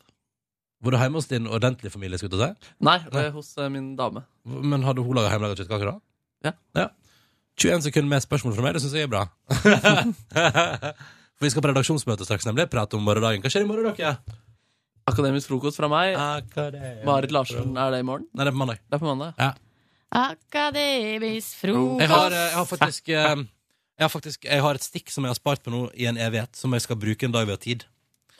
Var du hjemme hos din ordentlige familie? skulle du si?
Nei, eh, hos eh, min dame.
Men hadde hun laga hjemmelaga kjøttkaker da?
Ja.
21 sekunder med spørsmål fra meg, det syns jeg er bra. <laughs> For vi skal på redaksjonsmøte straks, nemlig. Prate om morgendagen. Hva skjer i morgen, dere?
Akademisk frokost fra meg. Marit Larsen, er det i morgen?
Nei, det er på mandag.
Det er på mandag,
ja.
Akademisk frokost.
Jeg har, eh, jeg har faktisk eh, jeg har faktisk jeg har et stikk som jeg har spart på nå i en evighet, som jeg skal bruke en dag vi har tid.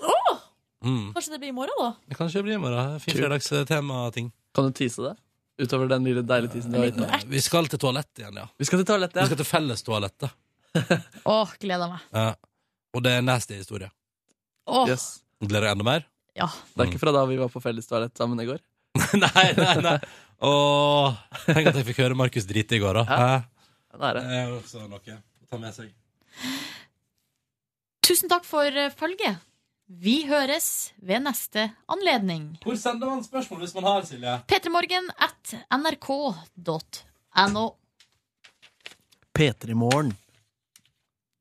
Åh!
Mm.
Kanskje det blir i morgen, da?
Det kan ikke bli i morgen. Fin fredagstema-ting.
Kan du tise det? Utover den lille deilige tisen du har gitt meg?
Vi skal til toalettet igjen, ja.
Vi skal til toalettet,
Vi skal til fellestoalettet.
Åh, gleder meg.
Ja. Og det er nasty historie.
Åh,
Gleder deg enda mer?
ja.
Det er ikke fra da vi var på fellestoalett sammen i går?
<laughs> nei, nei, nei. Åh, tenk at jeg fikk høre Markus drite i går, da. Hæ?
Det
er jo også noe å ta med seg.
Tusen takk for eh, følget. Vi høres ved neste anledning.
Hvor sender man spørsmål hvis man har, Silje?
P3morgen at nrk.no.
P3 Morgen.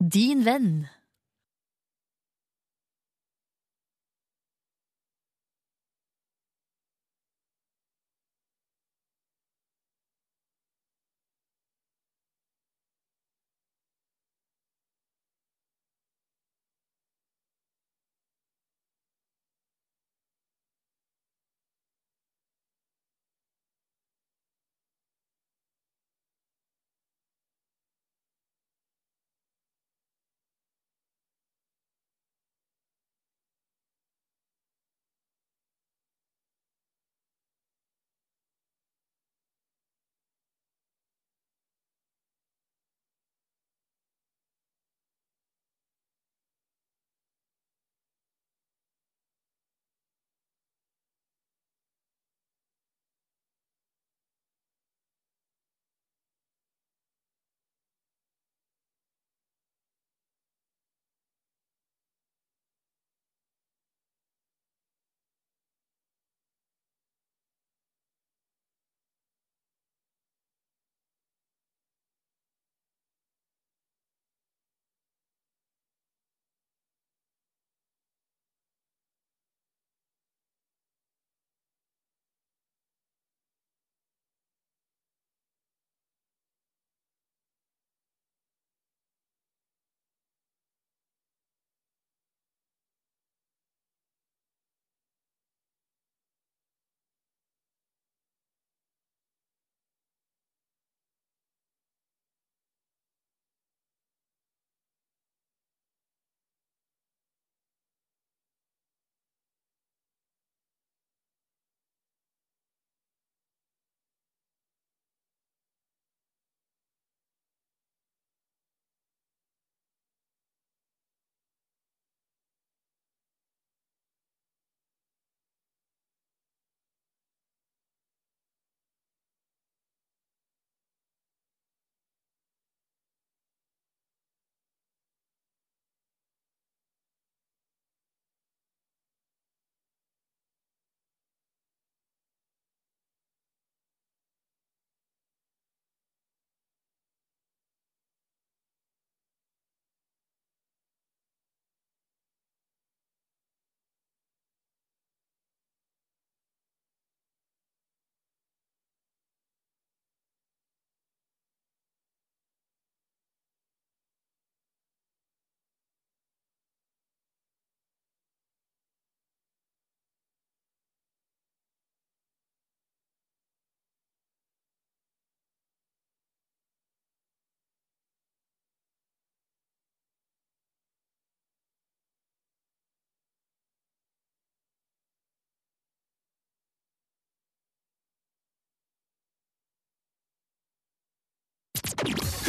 Din venn.
Hør flere podkaster på nrk.no podkast.